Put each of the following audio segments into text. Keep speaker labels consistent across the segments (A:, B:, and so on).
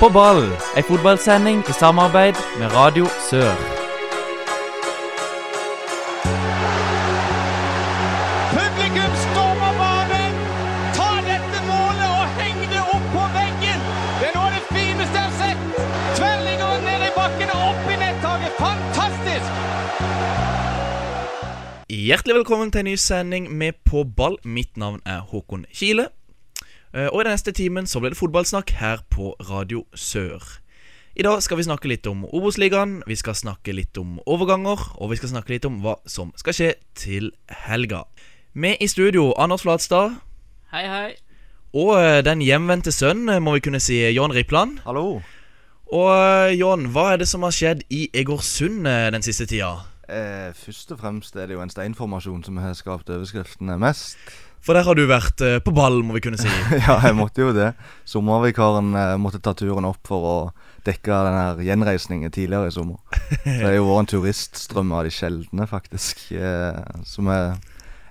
A: På ball, ei fotballsending i samarbeid med Radio Sør.
B: Publikum stormer banen! Ta dette målet og heng det opp på veggen! Det er noe av det fineste jeg har sett! Tverrliggeren ned i bakken og opp i nettaket! Fantastisk!
C: Hjertelig velkommen til en ny sending med På ball. Mitt navn er Håkon Kile. Eh, Og i den neste timen så blir det fotballsnakk her på Radio Sør. I dag skal vi snakke litt om Obos-ligaen, vi skal snakke litt om overganger, og vi skal snakke litt om hva som skal skje til helga. Med i studio Anders Flatstad
D: Hei, hei.
C: og eh, den hjemvendte sønn, eh, må vi kunne si, John Rippland.
E: Hallo.
C: Og eh, John, hva er det som har skjedd i Egersund eh, den siste tida?
E: Eh, først og fremst er det jo en steinformasjon som har skapt overskriftene mest.
C: For der har du vært eh, på ball, må vi kunne si.
E: ja, jeg måtte jo det. Sommervikaren eh, måtte ta turen opp for å dekke den her gjenreisningen tidligere i sommer. Så det har jo vært en turiststrøm av de sjeldne, faktisk. Eh, som er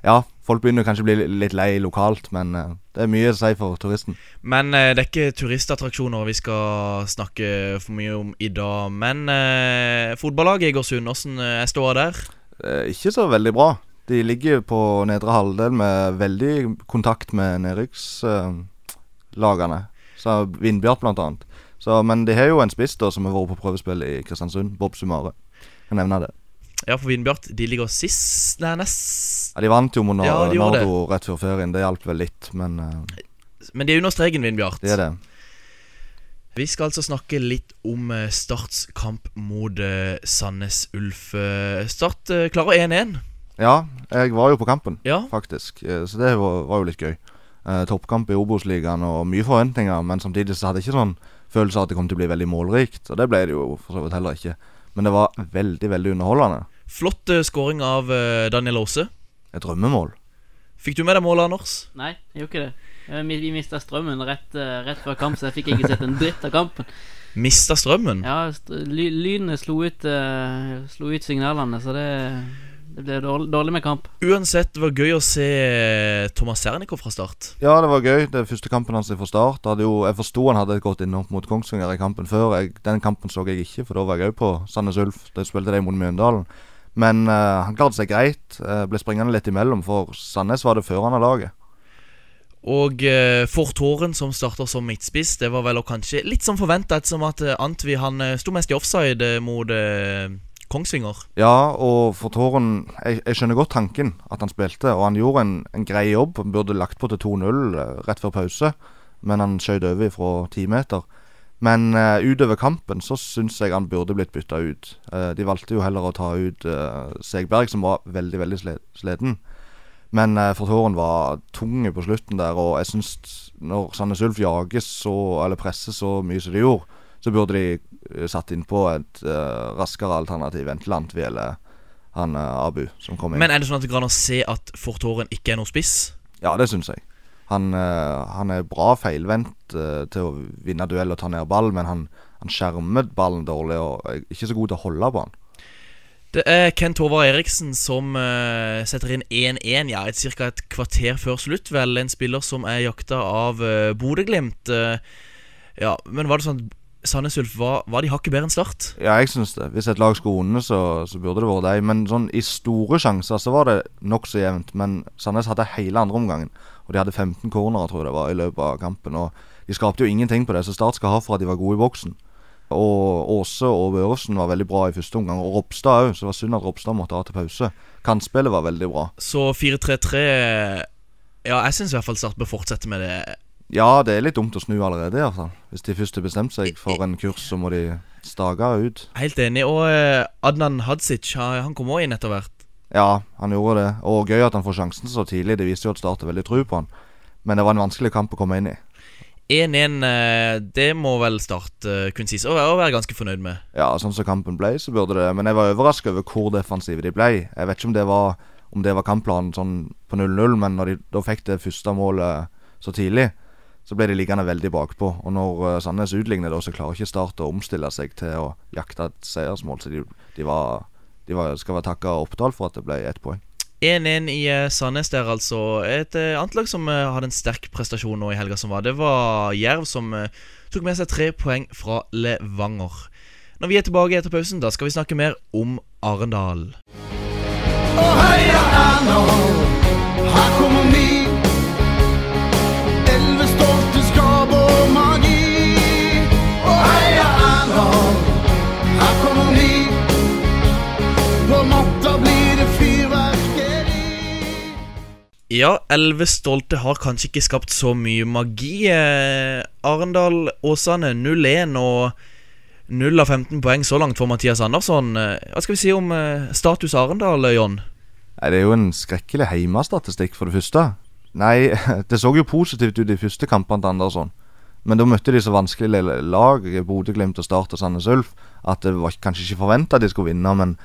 E: Ja, folk begynner kanskje å bli li- litt lei lokalt, men eh, det er mye å si for turisten.
C: Men eh, det er ikke turistattraksjoner vi skal snakke for mye om i dag. Men eh, fotballaget i Egersund, åssen er ståa der?
E: Eh, ikke så veldig bra. De ligger på nedre halvdel med veldig kontakt med nedrykkslagene. Eh, lagene. så Vindbjart, blant annet. Så, men de har jo en spiss da som har vært på prøvespill i Kristiansund. Bob Sumare. Jeg nevner det.
C: Ja, for Vindbjart de ligger sist Nei, nest
E: Ja, de vant jo mot Nor-
C: Ja, de gjorde det.
E: Nardo rett før ferien. Det hjalp vel litt, men eh,
C: Men de er under streken, Vindbjart.
E: det er det.
C: Vi skal altså snakke litt om eh, Starts kamp mot eh, Sandnes Ulf. Eh, Start eh, klarer 1-1.
E: Ja, jeg var jo på kampen,
C: Ja.
E: faktisk. Eh, Så det var, var jo litt gøy. Eh, toppkamp i Obos-ligaen og mye forventninger, men samtidig så hadde jeg ikke sånn følelse av at det kom til å bli veldig målrikt, og det ble det jo for så vidt heller ikke. Men det var veldig, veldig underholdende.
C: Flott eh, scoring av eh, Daniel Aase.
E: Et drømmemål.
C: Fikk du med deg målet, Anders?
D: Nei, jeg gjorde ikke det. Eh, Vi, vi mista strømmen rett, eh, rett før kamp, så jeg fikk ikke sett en dritt av kampen.
C: Mista strømmen.
D: Ja, st- ly, Lynet slo ut, eh, slo ut signalene, så det, det ble dårlig, dårlig med kamp.
C: Uansett, det var gøy å se eh, Thomas Sernikov fra Start.
E: Ja, det var gøy. Det er første kampen hans fra start. Hadde jo, jeg forsto han hadde et godt innhopp mot Kongsvinger i kampen før. Jeg, den kampen så jeg ikke, for da var jeg òg på Sandnes Ulf. Da spilte de mot Mjøndalen. Men eh, han klarte seg greit. eh, ble springende litt imellom, for Sandnes var det førende laget.
C: Og eh, Fort Håren, som starter som midtspiss, det var vel og kanskje litt som forventa, ettersom at eh, Antwi han eh, sto mest i offside eh, mot eh, Kongsvinger.
E: Ja, og for Tåren jeg, jeg skjønner godt tanken at han spilte, og han gjorde en, en grei jobb. Han burde lagt på til 2-0 eh, rett før pause, men han skjøt over fra ti meter. Men eh, utover kampen så syns jeg han burde blitt bytta ut. Eh, de valgte jo heller å ta ut eh, Segberg, som var veldig, veldig sle sliten. Men eh, for Tåren var tung på slutten der, og jeg syns når Sandnes Ulf jages så, eller presser så mye som de gjorde, så burde de eh, satt inn på et eh, raskere alternativ, enten Lantvi eller han eh, Abu som kom inn.
C: Men er det sånn at det går an å se at Fort Håren ikke er noen spiss?
E: Ja, det syns jeg. Han, eh, han er bra feilvendt eh, til å vinne duell og ta ned ball, men han, han skjermer ballen dårlig og er ikke så god til å holde på han.
C: Det er Kent Håvard Eriksen som eh, setter inn 1-1 ja, et, ca. et kvarter før slutt. Vel, en spiller som er jakta av uh, Bodø-Glimt. eh, ja, men var det sånn at Sandnes Ulf var, var de hakket bedre enn Start?
E: Ja, jeg syns det. Hvis et lag skulle vunnet, så, så burde det vært dem. Men sånn i store sjanser så var det nokså jevnt. Men Sandnes hadde hele andreomgangen, og de hadde 15 cornerer, tror jeg det var, i løpet av kampen. Og de skapte jo ingenting på det, så Start skal ha for at de var gode i boksen. Og Åse og Børresen var veldig bra i første omgang, og Ropstad òg, så det var synd at Ropstad måtte ha til pause. Kantspillet var veldig bra.
C: Så 4-3-3 eh, Ja, jeg syns i hvert fall Start bør fortsette med det.
E: Ja, det er litt dumt å snu allerede, i hvert fall. Hvis de først har bestemt seg for en kurs, så må de stake ut.
C: Helt enig. Og eh, Adnan Hadzic ha- han kom òg inn etter hvert.
E: Ja, han gjorde det. Og gøy at han får sjansen så tidlig. Det viser jo at Start har veldig tro på han. Men det var en vanskelig kamp å komme inn i.
C: 1-1, eh, det må vel Start eh, kunne sies å være- å være ganske fornøyd med.
E: Ja, sånn som kampen ble, så burde det Men jeg var overraska over hvor defensive de ble. Jeg vet ikke om det var, om det var kampplanen sånn på 0-0, men når de da fikk det første målet så tidlig, så ble de liggende veldig bakpå. Og når eh, Sandnes utligner da, så klarer ikke Start å omstille seg til å jakte et seiersmål. Så de, de var, de var, skal være takka Oppdal for at det ble ett poeng.
C: 1-1 i eh, Sandnes der, altså. Et eh, annet lag som eh, hadde en sterk prestasjon nå i helga som var, det var Jerv, som eh, tok med seg tre poeng fra Levanger. Når vi er tilbake etter pausen, da skal vi snakke mer om Arendal. Ja, Elleve stolte har kanskje ikke skapt så mye magi. Eh, Arendal-Åsane 0-1 og 0 av 15 poeng så langt for Mathias Andersson. Eh, Hva skal vi si om eh, status Arendal, John?
E: Nei, det er jo en skrekkelig heimestatistikk, for det første. Nei, det så jo positivt ut de første kampene til Andersson. sånn. Men da møtte de så vanskelige le- lag, Bodø-Glimt og Start og Sandnes Ulf, at det var kanskje ikke forventa de skulle vinne, men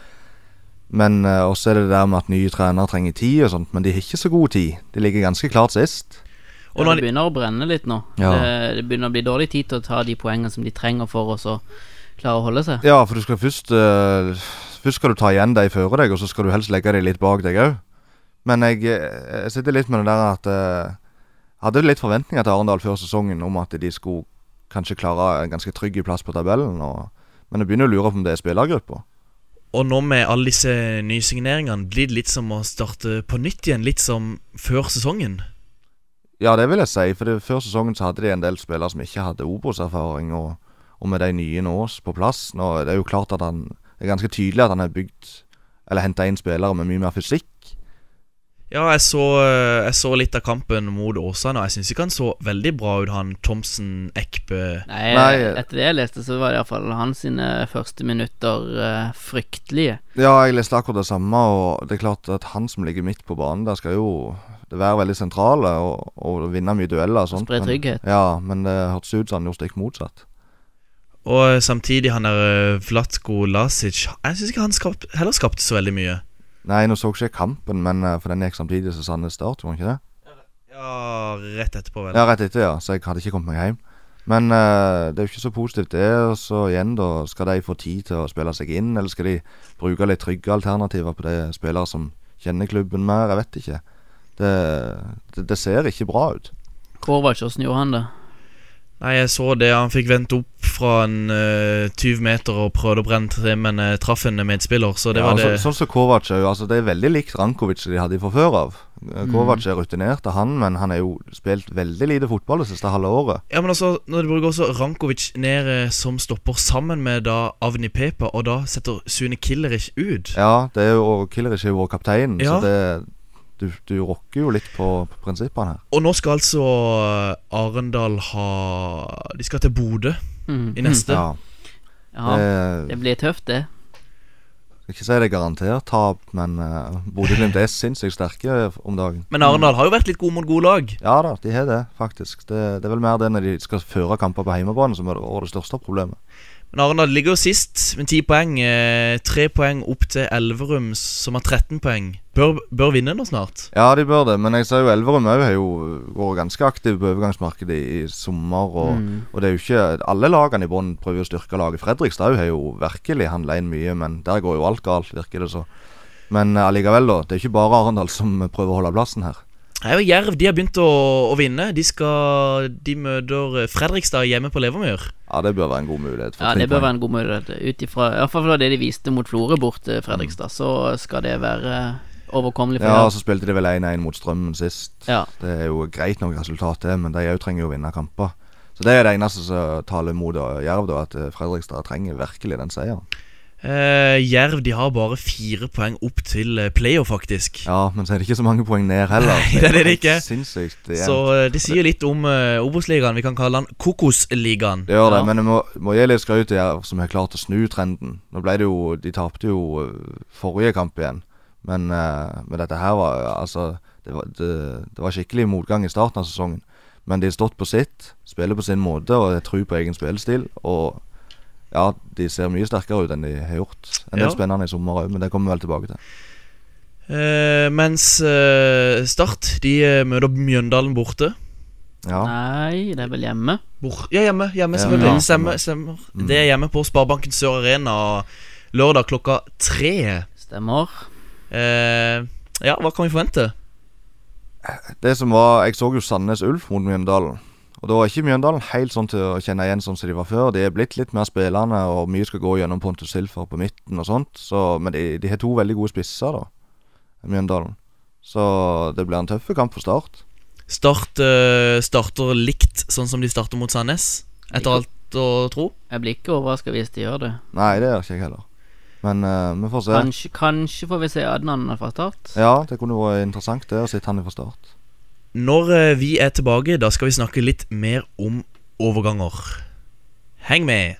E: Men eh, også er det det der med at nye trenere trenger tid og sånt, men de har ikke så god tid. De ligger ganske klart sist.
C: Og
D: ja,
C: når
D: det
C: han,
D: begynner å brenne litt nå.
E: Ja.
D: Det, det begynner å bli dårlig tid til å ta de poengene som de trenger for oss å klare å holde seg.
E: Ja, for du skal først eh, Først skal du ta igjen de før deg, og så skal du helst legge de litt bak deg òg. Men jeg, eh, jeg sitter litt med det der at eh, Hadde litt forventninger til Arendal før sesongen om at de skulle kanskje klare en ganske trygg plass på tabellen. Og, men jeg begynner å lure på om det er spillergruppa.
C: og nå med alle disse nysigneringene, blir det litt som å starte på nytt igjen? Litt som før sesongen?
E: Ja, det vil jeg si. For det, før sesongen så hadde de en del spillere som ikke hadde Obos-erfaring. Og, og med de nye nå s- på plass Nå er det jo klart at han Det er ganske tydelig at han har bygd Eller henta inn spillere med mye mer fysikk.
C: Ja, jeg så, eh, jeg så litt av kampen mot Åsane, og jeg syns ikke han så veldig bra ut, han Thomsen Ekpe.
D: Nei, eh,
E: Nei.
D: Etter det jeg leste, så var det iallfall hans sine første minutter eh, fryktelige.
E: Ja, jeg leste akkurat det samme, og det er klart at han som ligger midt på banen der, skal jo være veldig sentrale og, og vinne mye dueller og sånt.
D: Spre
E: men-
D: trygghet.
E: Ja, men det hørtes ut som han gjorde stikk motsatt.
C: Og samtidig han der eh, Vlatko Lasic Jeg syns ikke han skapt, heller skapte så veldig mye.
E: Nei, nå så ikke jeg kampen, men eh, for den gikk samtidig som Sandnes Start, gjorde den ikke det?
C: Ja, rett etterpå, vel.
E: Ja, rett etter, ja. Så jeg hadde ikke kommet meg hjem. Men eh, det er jo ikke så positivt, det. Og så igjen, da. Skal de få tid til å spille seg inn, eller skal de bruke litt trygge alternativer på de spillere som kjenner klubben mer? Jeg vet ikke. Det, det, det ser ikke bra ut.
D: Kovac, åssen gjorde han det?
C: Nei, jeg så det. Han fikk vendt opp fra en eh, 20 meter og prøvde å brenne tre, men eh, traff en medspiller, så det
E: Ja,
C: var
E: og
C: det.
E: Så, sånn som Kovac er jo altså, Det er veldig likt Rankovic som de hadde fra før av. Eh,
C: Mm.
E: Kovac er rutinert av han, men han har jo spilt veldig lite fotball det siste halve året.
C: Ja, men altså, når de bruker også Rankovic ned eh, som stopper sammen med da Avni Pepa, og da setter Sune Killerich ut.
E: Ja, det er jo, og Killerich er jo vår kaptein,
C: Ja.
E: så det du, du rokker jo litt på, på prinsippene her.
C: Og nå skal altså eh, Arendal ha De skal til Bodø
D: Mm.
C: i Eh. neste.
E: Ja,
D: Ja,
E: det-
D: det blir tøft, det.
E: Jeg vil Ikke si det er garantert tap, men uh, Bodø-Glimt er sinnssykt sterke om dagen.
C: Men Arendal har jo vært litt gode mot gode lag.
E: Ja da, de har det, faktisk. Det, det er vel mer det når de skal føre kamper på hjemmebane som er det, og det største problemet.
C: Men Arendal ligger jo sist med 10 poeng. eh, Tre poeng opp til Elverum, som har 13 poeng. Bør, bør vinne nå snart.
E: Ja, de bør det, men jeg ser jo Elverum òg har jo vært ganske aktiv på overgangsmarkedet i, i sommer. Og,
D: Mm.
E: og det er jo ikke Alle lagene i bånn prøver jo å styrke laget. Fredrikstad òg har jo virkelig handla inn mye, men der går jo alt galt, virker det så. Men eh, allikevel, da. Det er ikke bare Arendal som prøver å holde plassen her.
C: Nei, og Jerv de har begynt å, å vinne. De, skal, de møter eh, Fredrikstad hjemme på Levermyr.
E: Ja, det bør være en god mulighet.
D: Ja, det bør være en god mulighet. Ut ifra iallfall fra det de viste mot Florø bort til Fredrikstad, så skal det være eh, overkommelig
E: Mm.
D: for
E: Ja, altså, og så
D: Jerv.
E: spilte de vel 1-1 mot Strømmen sist.
D: Ja.
E: Det er jo greit nok resultat, det, men de òg trenger jo å vinne kamper. Så det er det eneste som taler mot eh, Jerv, da, at eh, Fredrikstad trenger virkelig den seieren.
C: Eh, Jerv de har bare fire poeng opp til eh, playoff, faktisk.
E: Ja, men så er det ikke så mange poeng ned heller.
C: Nei, det er det ikke.
E: Sinnssykt. Det,
C: Så eh, det sier litt om eh, Obos-ligaen. Vi kan kalle den Kokosligaen.
E: det gjør det,
D: Ja.
E: men jeg må, må gi litt skryt til Jerv, som har klart å snu trenden. Nå ble det jo De tapte jo øh, forrige kamp igjen, men, øh, men dette her var øh, Altså, det var, det, det var skikkelig motgang i starten av sesongen. Men de har stått på sitt, spiller på sin måte og har tro på egen spillestil. Og ja, de ser mye sterkere ut enn de har gjort. En del
C: Ja.
E: spennende i sommer òg, men det kommer vi vel tilbake til.
C: Eh, mens eh, Start de eh, møter Mjøndalen borte.
E: Ja.
D: Nei, det er vel hjemme.
C: Bor ja, hjemme. hjemme
E: Ja,
C: selvfølgelig.
E: ja. Mm.
C: Stemmer. stemmer. Det er hjemme på Sparebanken Sør Arena lørdag klokka tre.
D: Stemmer.
C: Eh, Ja, hva kan vi forvente?
E: Det som var, Jeg så jo Sandnes Ulf mot Mjøndalen. Og Da var ikke Mjøndalen helt sånn til å kjenne igjen sånn som de var før. De er blitt litt mer spillende, og mye skal gå gjennom Pontus Silfer på midten og sånt. Så, men de, de har to veldig gode spisser, da, Mjøndalen. Så det blir en tøff kamp for Start.
C: Start eh, starter likt sånn som de starter mot Sandnes, etter alt å tro.
D: Jeg blir ikke overraska hvis de gjør det.
E: Nei, det gjør ikke jeg heller. Men eh, vi får se.
D: Kanskje, kanskje får vi se Adnan fra start.
E: Ja, det kunne vært interessant det å sitte han fra Start.
C: Når eh, vi er tilbake, da skal vi snakke litt mer om overganger. Heng med!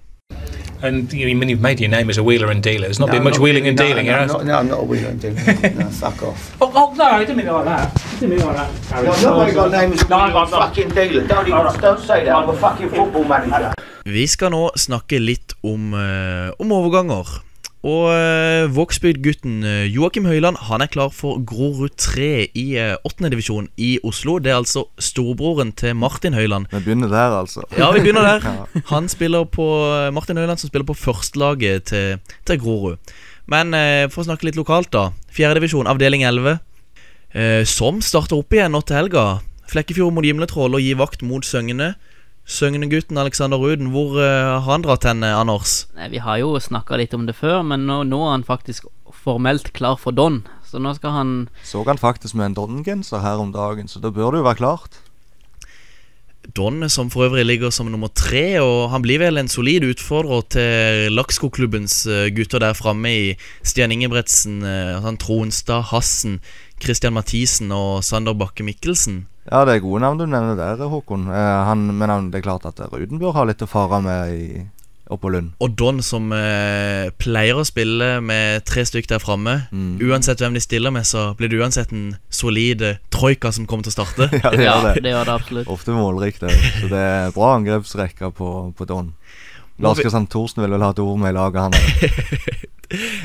F: And you mean you've made your name as a wheeler and dealer. There's not
G: No,
F: been much
G: not-
F: wheeling and
G: no,
F: dealing,
G: no,
F: has
G: No, no, I'm not a wheeler and dealer. no, fuck off.
H: Oh, oh, no, I didn't mean it like that. I didn't mean it like that. Harry.
G: Well, nobody got
H: No,
G: names.
H: I'm not.
G: fucking dealer. Don't even, don't say that. I'm a fucking football manager.
C: Vi skal nå snakke litt om, eh, om overganger. Og eh, Vågsbygd-gutten eh, Joakim Høiland han er klar for Grorud 3 i eh, åttendedivisjon i Oslo. Det er altså storebroren til Martin Høiland.
E: Vi begynner der, altså.
C: Ja, vi begynner der. Han spiller på eh, Martin Høiland som spiller på førstelaget til, til Grorud. Men eh, for å snakke litt lokalt, da. Fjerdedivisjon, avdeling 11. Eh, som starter opp igjen nå til helga. Flekkefjord mot Gimletroll og gi vakt mot Søgne. Søgne-gutten Alexander Ruden, hvor eh, har han dratt hen, eh, Anders?
D: Nei, Vi har jo snakka litt om det før, men nå, nå er han faktisk formelt klar for Don. Så nå skal han
E: Så han faktisk med en dongenser her om dagen, så da bør det jo være klart.
C: Don, som for øvrig ligger som nummer tre, og han blir vel en solid utfordrer til Lakskoklubbens eh, gutter der framme i Stian Ingebretsen, eh, han Tronstad, Hassen, Christian Mathisen og Sander Bakke Mikkelsen.
E: Ja, det er gode navn du nevner der, Håkon. Eh, han, men han, det er klart at Ruden bør ha litt å fare med i, oppå Lund.
C: Og Don, som eh, pleier å spille med tre stykk der framme. Uansett hvem de stiller med, så blir det uansett en solid eh, troika som kommer til å starte.
E: Ja, det
D: Ja,
E: gjør det.
D: det gjør det absolutt.
E: Ofte målrikt, det. Så det er bra angrepsrekke på, på Don. Lars Kristian Thorsen vil vel ha et ord med i laget, han. er.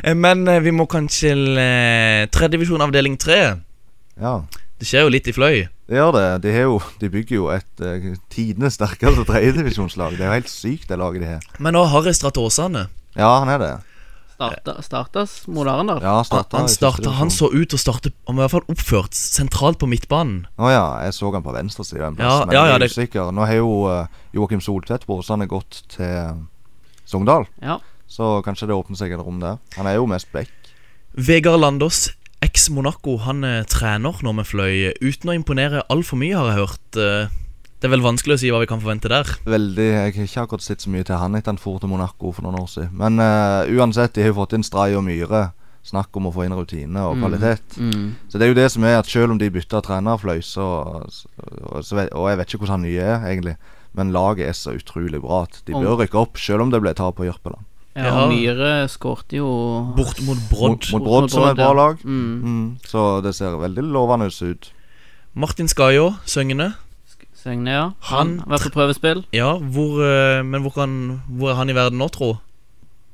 C: Eh, Men eh, vi må kanskje til eh, tredjedivisjon avdeling tre.
E: Ja,
C: Det skjer jo litt i fløy.
E: det gjør det. De, har jo, de bygger jo et eh, tidenes sterkeste tredjedivisjonslag. Det er jo helt sykt, det laget de har.
C: Men nå har Harris dratt til Åsane.
E: Ja, han er det.
D: Starta, startes mot Arendal.
E: Ja,
C: Han,
E: starta
C: han,
E: i første
C: starta, han
E: divisjon.
C: så ut til å starte Han var i hvert fall oppført sentralt på midtbanen.
E: Å ja, jeg så han på venstresida en plass,
C: Ja, ja,
E: men
C: ja,
E: jeg er
C: det-
E: usikker. Nå har jo eh, Joakim Soltvedt på Åsane gått til Sogndal,
D: Ja.
E: så kanskje det åpner seg et rom der. Han er jo mest back.
C: Vegard Landås, eks Monaco, han eh, trener nå med fløy. Uten å imponere altfor mye, har jeg hørt. Eh, Det er vel vanskelig å si hva vi kan forvente der.
E: Veldig, Jeg har ikke akkurat sett så mye til han etter han for til Monaco for noen år siden. Men eh, uansett, de har jo fått inn Stray og Myhre. Snakk om å få inn rutine og kvalitet.
D: Mm.
E: Så det er jo det som er at selv om de bytter trenerfløy, så, så, så vet, Og jeg vet ikke hvordan han nye er, egentlig. Men laget er så utrolig bra at de
D: Om-
E: bør rykke opp, selv om det ble tap på Jørpeland.
D: Ja,
C: Ja.
D: og Myhre skårte jo
C: Bort mot Brodd.
E: Mot, mot Brodd, som er et bra
D: ja.
E: lag.
D: Mm.
E: Mm, så det ser veldig lovende ut.
C: Martin Skajå, Søgne.
D: Søgne, ja.
C: Han-
D: Han har vært på prøvespill.
C: Ja, hvor, eh, men hvor, kan, hvor er han i verden nå, tro?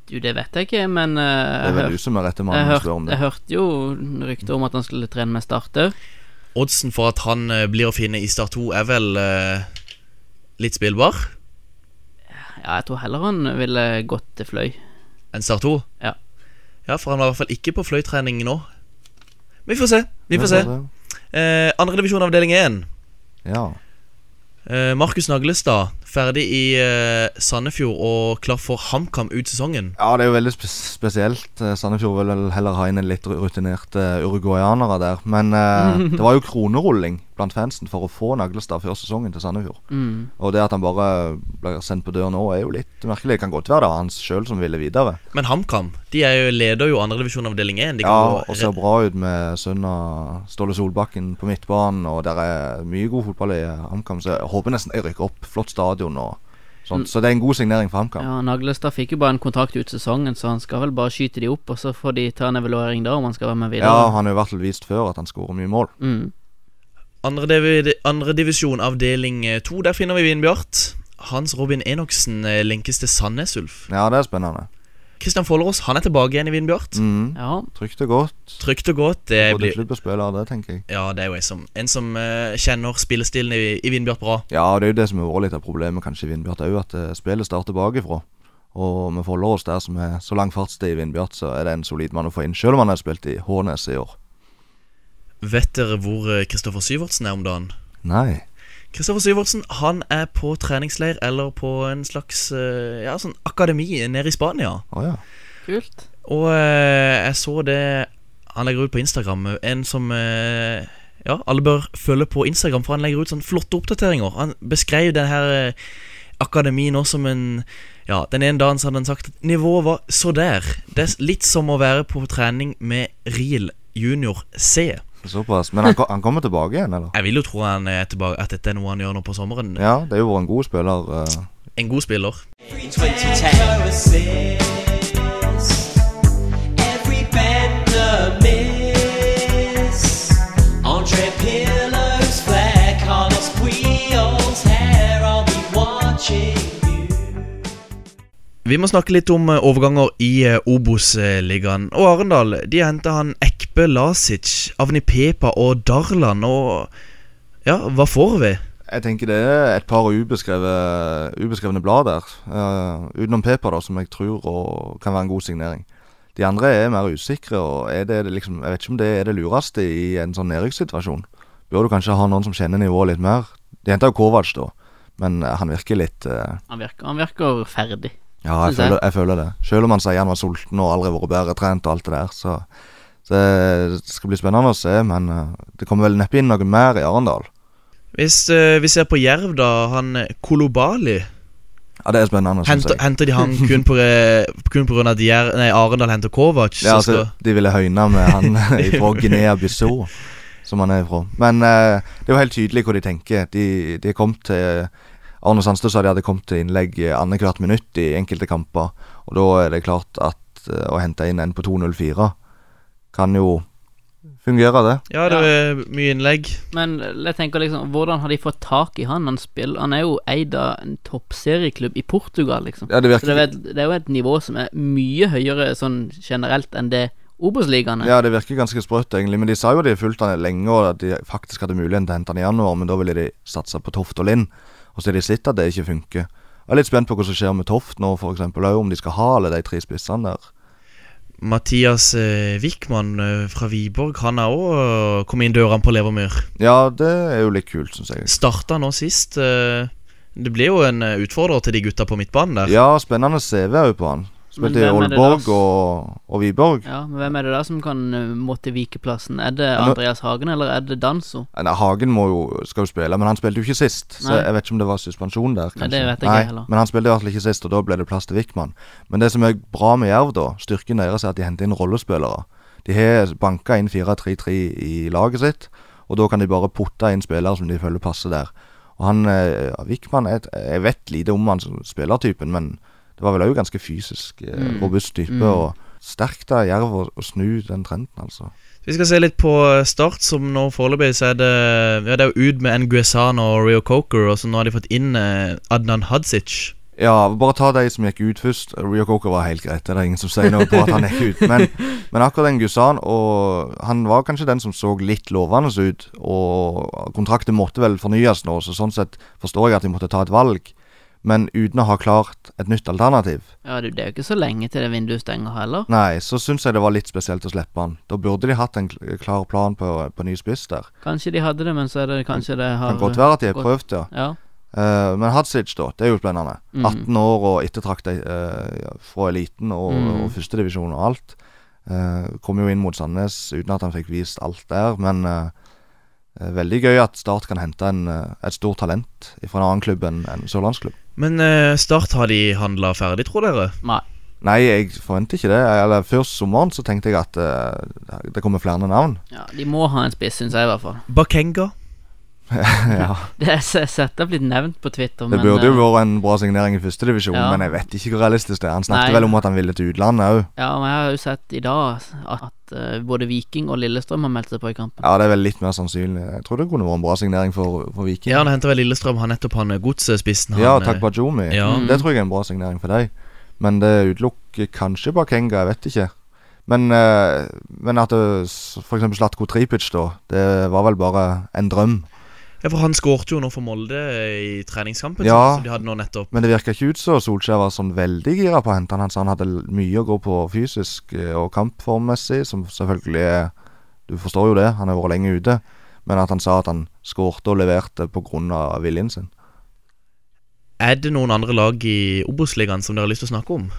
D: Du, det vet jeg ikke, men eh,
E: Det er
D: jeg,
E: vel
D: hør,
E: du som er rette
D: jeg,
E: mannen å
D: hørte-
E: spørre om
D: jeg
E: det.
D: hørte jo rykter om at han skulle trene med Start òg.
C: Oddsen for at han eh, blir å finne i Start 2, er vel eh, litt spillbar
D: Ja, jeg tror heller han ville gått til Fløy.
C: enn Start 2?
D: Ja.
C: ja, for han var i hvert fall ikke på fløytrening nå. Vi får se. Vi får se.
E: det.
C: Eh, andre divisjon avdeling 1.
E: Ja.
C: Eh, Markus Naglestad, ferdig i eh, Sandefjord og klar for HamKam ut sesongen.
E: Ja, det er jo veldig spes spesielt. Eh, Sandefjord vil vel heller ha inn en litt ru- rutinerte eh, uruguayanere der. Men eh, det var jo kronerulling blant fansen for å få Naglestad før sesongen til Sandefjord.
D: Mm.
E: Og det at han bare blir sendt på dør nå, er jo litt merkelig. Det kan godt være det var han sjøl som ville videre.
C: Men HamKam de er jo, leder jo andre divisjon avdeling 1. De kan
E: Ja,
C: gå
E: og ser
C: rett-
E: bra ut med sønna Ståle Solbakken på midtbanen. Og der er mye god fotball i HamKam, så jeg håper nesten jeg rykker opp. Flott stadion og sånt.
C: Mm.
E: Så det er en god signering for HamKam.
D: Ja, Naglestad fikk jo bare en kontrakt ut sesongen, så han skal vel bare skyte de opp, og så får de ta en evaluering da om han skal være med
E: Ja,
D: videre.
E: han har jo i hvert fall vist før at han skårer mye mål.
D: Mm.
C: Andre, divi- andre divisjon avdeling 2, der finner vi Vinbjart. Hans Robin Enoksen eh, linkes til Sandnes Ulf.
E: Ja, det er spennende.
C: Kristian Follerås han er tilbake igjen i Vinbjart.
E: Mm.
D: Ja,
E: Trygt og godt.
C: Trygt og godt. Det
E: Både
C: blir,
E: klubbspillere, det tenker jeg.
C: ja, det er jo en som, en som eh, kjenner spillestilen i, i Vinbjart bra.
E: Ja, og det er jo det som har vært litt av problemet kanskje i Vindbjart òg, at eh, spillet starter bakifra. Og vi folder oss der som er så lang fartstid i Vindbjart, så er det en solid mann å få inn. Selv om han har spilt i Hånes i år.
C: Vet dere hvor eh, Kristoffer Syvertsen er om dagen?
E: Nei.
C: Kristoffer Syvertsen han er på treningsleir eller på en slags eh, ja, sånn akademi nede i Spania.
E: Å ja.
D: Kult.
C: Og eh, jeg så det han legger ut på Instagram. En som eh, ja, alle bør følge på Instagram, for han legger ut sånne flotte oppdateringer. Han beskrev den her eh, akademien nå som en ja, Den ene dagen så hadde han sagt at nivået var så der. Det er litt som å være på trening med Riel junior C.
E: Såpass. Men han, ko- han kommer tilbake igjen, eller?
C: Jeg vil jo tro han er tilbake, at dette er noe han gjør nå på sommeren.
E: Ja, det er jo vært en god spiller. eh.
C: En god spiller. Vi må snakke litt om eh, overganger i eh, Obos-ligaen. Og Arendal de henta han Ekpe Lasic, Avni Pepa og Darlan. Og ja, hva får vi?
E: Jeg tenker det er et par ubeskrevet, ubeskrevne blad der. eh, utenom Peper, da, som jeg tror og kan være en god signering. De andre er mer usikre, og er det det liksom, jeg vet ikke om det er det lureste i en sånn nedrykkssituasjon. Bør du kanskje ha noen som kjenner nivået litt mer? De henta jo Kovac, da, men eh, han virker litt eh,
D: Han virker, han virker ferdig.
E: Ja, jeg
D: Synes jeg.
E: føler, jeg føler det. Selv om han sier han var sulten og aldri vært bedre trent og alt det der, så, så eh, det skal bli spennende å se. Men eh, det kommer vel neppe inn noe mer i Arendal.
C: Hvis eh, vi ser på Jerv, da. Han eh, Kolobali.
E: Ja, det er spennende. synes
C: Henter,
E: jeg.
C: henter de han kun pga. at Jer nei, Arendal henter Kovac? så skal,
E: Ja, altså, de ville høyne med han eh, fra Guinea-Bissau, som han er fra. Men eh, det er jo helt tydelig hvor de tenker. De, de kom til eh, Arne Sandstø sa de hadde kommet til innlegg annethvert minutt i enkelte kamper. Og da er det klart at eh, å hente inn en på 2.04 kan jo fungere, det.
C: ja, det er mye innlegg.
D: Men jeg tenker liksom, hvordan har de fått tak i han? Han, spill, han er jo eid av en toppserieklubb i Portugal, liksom.
E: Ja, det
D: Så det
E: virker,
D: er, jo et, det er jo et nivå som er mye høyere sånn generelt enn det Obos-ligaen er.
E: Ja, det virker ganske sprøtt, egentlig. Men de sa jo de fulgte han lenge, og at de faktisk hadde muligheten til å hente han i januar, men da ville de satse på Toft og Linn. Og så har de sett at det ikke funker. Jeg er litt spent på hva som skjer med Toft nå, f.eks. Òg om de skal ha alle de tre spissene der.
C: Mathias eh, Wickman eh, fra Wiborg han har òg eh, kommet inn dørene på Levermyr.
E: Ja, det er jo litt kult, syns jeg.
C: starta nå sist. eh, Det blir jo en eh, utfordrer til de gutta på midtbanen der.
E: Ja, spennende CV òg på han.
D: Men
E: Spilte i
D: hvem er det
E: Aalborg
D: da?
E: og, og Wiborg.
D: Ja, men Hvem er det da som kan eh, måtte vike plassen? Er det
E: nå-
D: Andreas Hagen, eller er det Danso?
E: Nei, Hagen må jo, skal jo spille, men han spilte jo ikke sist. Så
D: Nei.
E: jeg vet ikke om det var suspensjon der.
D: Nei,
E: kanskje.
D: det vet jeg ikke heller.
E: Men han spilte i hvert fall ikke sist, og da ble det plass til Wickman. Men det som er bra med Jerv, da, styrken deres, er at de henter inn rollespillere. De har banka inn 4-3-3 i laget sitt, og da kan de bare putte inn spillere som de føler passer der. Og han eh, ja, Wickman er et- Jeg vet lite om han som spillertypen, men det var vel òg ganske fysisk eh,
D: Mm.
E: robust type. og Sterkt av Jerv å å snu den trenden, altså.
C: Vi skal se litt på eh, Start, som nå foreløpig så er det Ja, det er jo ut med Nguessan og Rio Coker, og så nå har de fått inn eh, Adnan Hadzic.
E: Ja, bare ta de som gikk ut først. Rio Coker var helt greit. Det er det ingen som sier noe på at han gikk ut. Men, men akkurat den Gusan og Han var kanskje den som så litt lovende ut. Og kontrakten måtte vel fornyes nå, så sånn sett forstår jeg at de måtte ta et valg. Men uten å ha klart et nytt alternativ.
D: Ja, du, Det er jo ikke så lenge til det vinduet stenger heller.
E: Nei, så syns jeg det var litt spesielt å slippe han. Da burde de hatt en kl- klar plan på, på ny spiss der.
D: Kanskje de hadde det, men så er det kanskje det har
E: Kan godt være at de har
D: godt-
E: prøvd, ja.
D: Ja.
E: Eh, men Hadzic, da. Det er jo spennende.
D: Mm.
E: 18 år og ettertrakta eh, fra eliten og,
D: Mm.
E: og førstedivisjon og alt. Eh, kom jo inn mot Sandnes uten at han fikk vist alt der, men eh, eh, veldig gøy at Start kan hente en, eh, et stort talent fra en annen klubb enn en sørlandsklubb.
C: Men eh, Start, har de handla ferdig, tror dere?
D: Nei.
E: Nei, jeg forventer ikke det. Eller Før sommeren så tenkte jeg at eh, det kommer flere navn.
D: Ja, De må ha en spiss, syns jeg i hvert fall.
C: Bakenga?
E: ja,
D: Det er s- sett opp blitt nevnt på Twitter,
E: det
D: men
E: burde jo
D: eh,
E: vært en bra signering i førstedivisjon,
D: Ja.
E: men jeg vet ikke hvor realistisk det er. Han
D: Nei.
E: snakket vel om at han ville til utlandet òg.
D: Ja, men jeg har jo sett i dag at eh, både Viking og Lillestrøm har meldt seg på i kampen.
E: Ja, det er vel litt mer sannsynlig. Jeg tror det kunne vært en bra signering for, for Viking.
C: Ja, han henter vel Lillestrøm, han nettopp han eh, godsspissen. han,
E: Ja,
C: eh,
E: takk Bajomi.
C: Ja.
E: Det tror jeg er en bra signering for deg. Men det utelukker kanskje Bakenga, jeg vet ikke. Men, eh, men at det s- for eksempel Slatko Tripic, da, det var vel bare en drøm.
C: Ja, for han skårte jo nå for Molde eh, i treningskampen,
E: Ja.
C: som de hadde nå nettopp.
E: Men det virka ikke ut som Solskjær var sånn veldig gira på å hente han. Han sa han hadde l- mye å gå på fysisk eh, og kampformmessig, som selvfølgelig er Du forstår jo det, han har vært lenge ute. Men at han sa at han skårte og leverte pga. viljen sin.
C: Er det noen andre lag i Obos-ligaen som dere har lyst til å snakke om?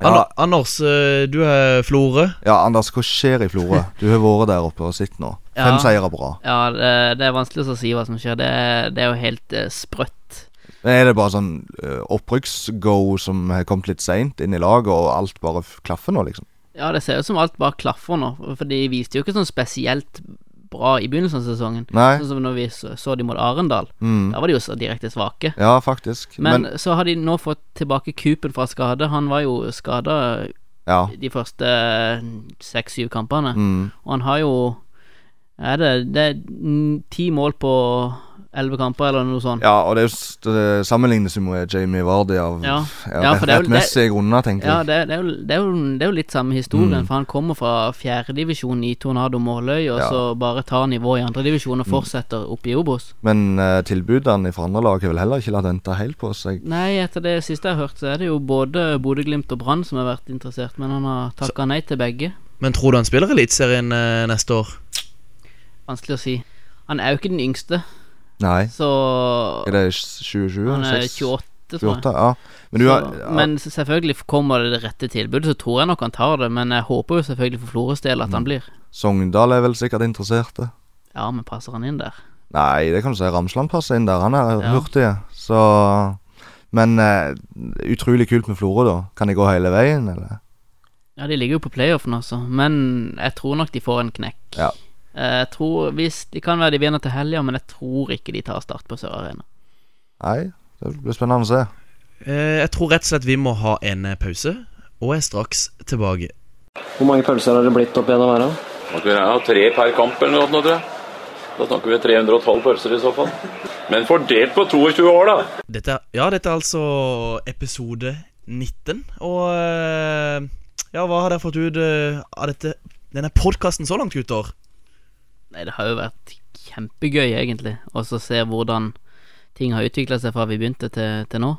E: Ja,
C: Anna- Anders, eh, du er Florø.
E: ja Anders, hva skjer i Florø? Du har vært der oppe og sett nå. Fem
D: Ja.
E: seire på rad.
D: Ja, det, det er vanskelig å si hva som skjer. Det, det er jo helt eh, sprøtt.
E: Men Er det bare sånn eh, opprykksgo som har kommet litt seint inn i laget, og alt bare f- klaffer nå, liksom?
D: Ja, det ser ut som alt bare klaffer nå, for de viste jo ikke sånn spesielt bra i begynnelsen av sesongen.
E: Nei.
D: Sånn som når vi så, så de mot Arendal.
E: Mm.
D: Da var de jo så direkte svake.
E: Ja, faktisk.
D: Men,
E: Men,
D: så har de nå fått tilbake Coopen fra skade. Han var jo skada
E: ja.
D: de første eh, seks-syv kampene.
E: Mm.
D: Og han har jo er det, det er mm, ti mål på elleve kamper, eller noe sånt.
E: ja, og det er jo s- det sammenlignes jo med Jamie Vardy av
D: Ja.
E: ja,
D: Ja, for det er jo- det-
E: rettmessige grunner, tenker
D: Ja,
E: jeg.
D: det, det, er jo, det, er jo, det er jo litt samme
E: Mm.
D: historien, for han kommer fra fjerdedivisjon i Tornado Måløy, og
E: Ja. Mm.
D: så bare tar nivået i andredivisjon og fortsetter opp i Obos.
E: Men eh, tilbudene fra andre lag har vel heller ikke latt vente helt på seg.
D: Nei, etter det siste jeg har hørt, så er det jo både Bodø-Glimt og Brann som har vært interessert, men han har takka nei til begge.
C: Men tror du han spiller Eliteserien eh, neste år?
D: Vanskelig å si. Han er jo ikke den yngste,
E: Nei.
D: så
E: Er det 2020?
D: han er
E: 6?
D: 28, tror jeg.
E: 28, ja. Men du har
D: Så-
E: ja,
D: Men s- selvfølgelig kommer det det rette tilbudet, så tror jeg nok han tar det. Men jeg håper jo selvfølgelig for Flores del
E: Mm.
D: at han blir.
E: Sogndal er vel sikkert interesserte?
D: Ja, men passer han inn der?
E: Nei, det kan du si. Ramsland passer inn der. Han er
D: Ja.
E: hurtig. Så Men eh, utrolig kult med Florø, da. Kan de gå hele veien, eller?
D: Ja, de ligger jo på playoffen også, men jeg tror nok de får en knekk.
E: Ja.
D: Eh, Jeg tror, hvis, De kan være de vinner til helga, men jeg tror ikke de tar start på Sør Arena.
E: Nei, det blir spennende å se.
C: Eh, Jeg tror rett og slett vi må ha en eh, pause, og er straks tilbake.
I: Hvor mange pølser har det blitt opp gjennom her, da?
J: Må ikke regne av tre per kamp eller noe, nå, tror jeg. Da snakker vi 312 pølser i så fall. Men fordelt på 22 år, da.
C: Dette er, ja, dette er altså episode 19, og eh, Ja, hva har dere fått ut eh, av dette, denne podkasten så langt, gutter?
D: Nei, Det har jo vært kjempegøy, egentlig, å så se hvordan ting har utvikla seg fra vi begynte til, til nå.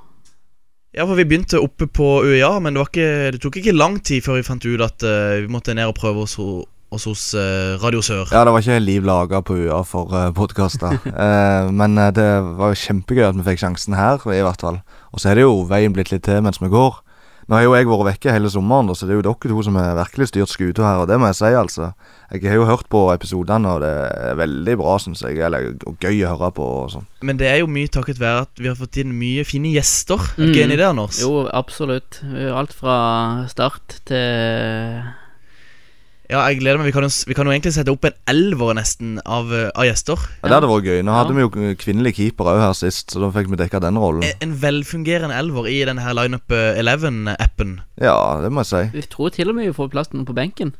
C: Ja, for Vi begynte oppe på UiA, men det, var ikke, det tok ikke lang tid før vi fant ut at eh, vi måtte ned og prøve oss, ho- oss hos eh, Radio Sør.
E: Ja, det var ikke liv laga på UiA for uh, podkaster. Eh, men eh, det var jo kjempegøy at vi fikk sjansen her, i hvert fall. Og så er det jo veien blitt litt til mens vi går. Nå har jo jeg vært vekke hele sommeren, da, så det er jo dere to som har virkelig styrt skuta her, og det må jeg si, altså. Jeg har jo hørt på episodene, og det er veldig bra, syns jeg. Eller og gøy å høre på og sånn.
C: Men det er jo mye takket være at vi har fått inn mye fine gjester. Er du ikke
D: Mm.
C: enig i det, Anders?
D: Jo, absolutt. Alt fra start til
C: Ja, jeg gleder meg. Vi kan, jo, s- vi kan jo egentlig sette opp en elver nesten av, eh, av gjester.
E: Ja, det hadde vært gøy. Nå hadde
D: Ja.
E: vi jo kvinnelig keeper òg her sist, så da fikk vi dekka den rollen.
C: En, en velfungerende elver i denne her Lineup eh, 11-appen.
E: Ja, det må jeg si.
D: Vi tror til og med vi får plass til noen på benken.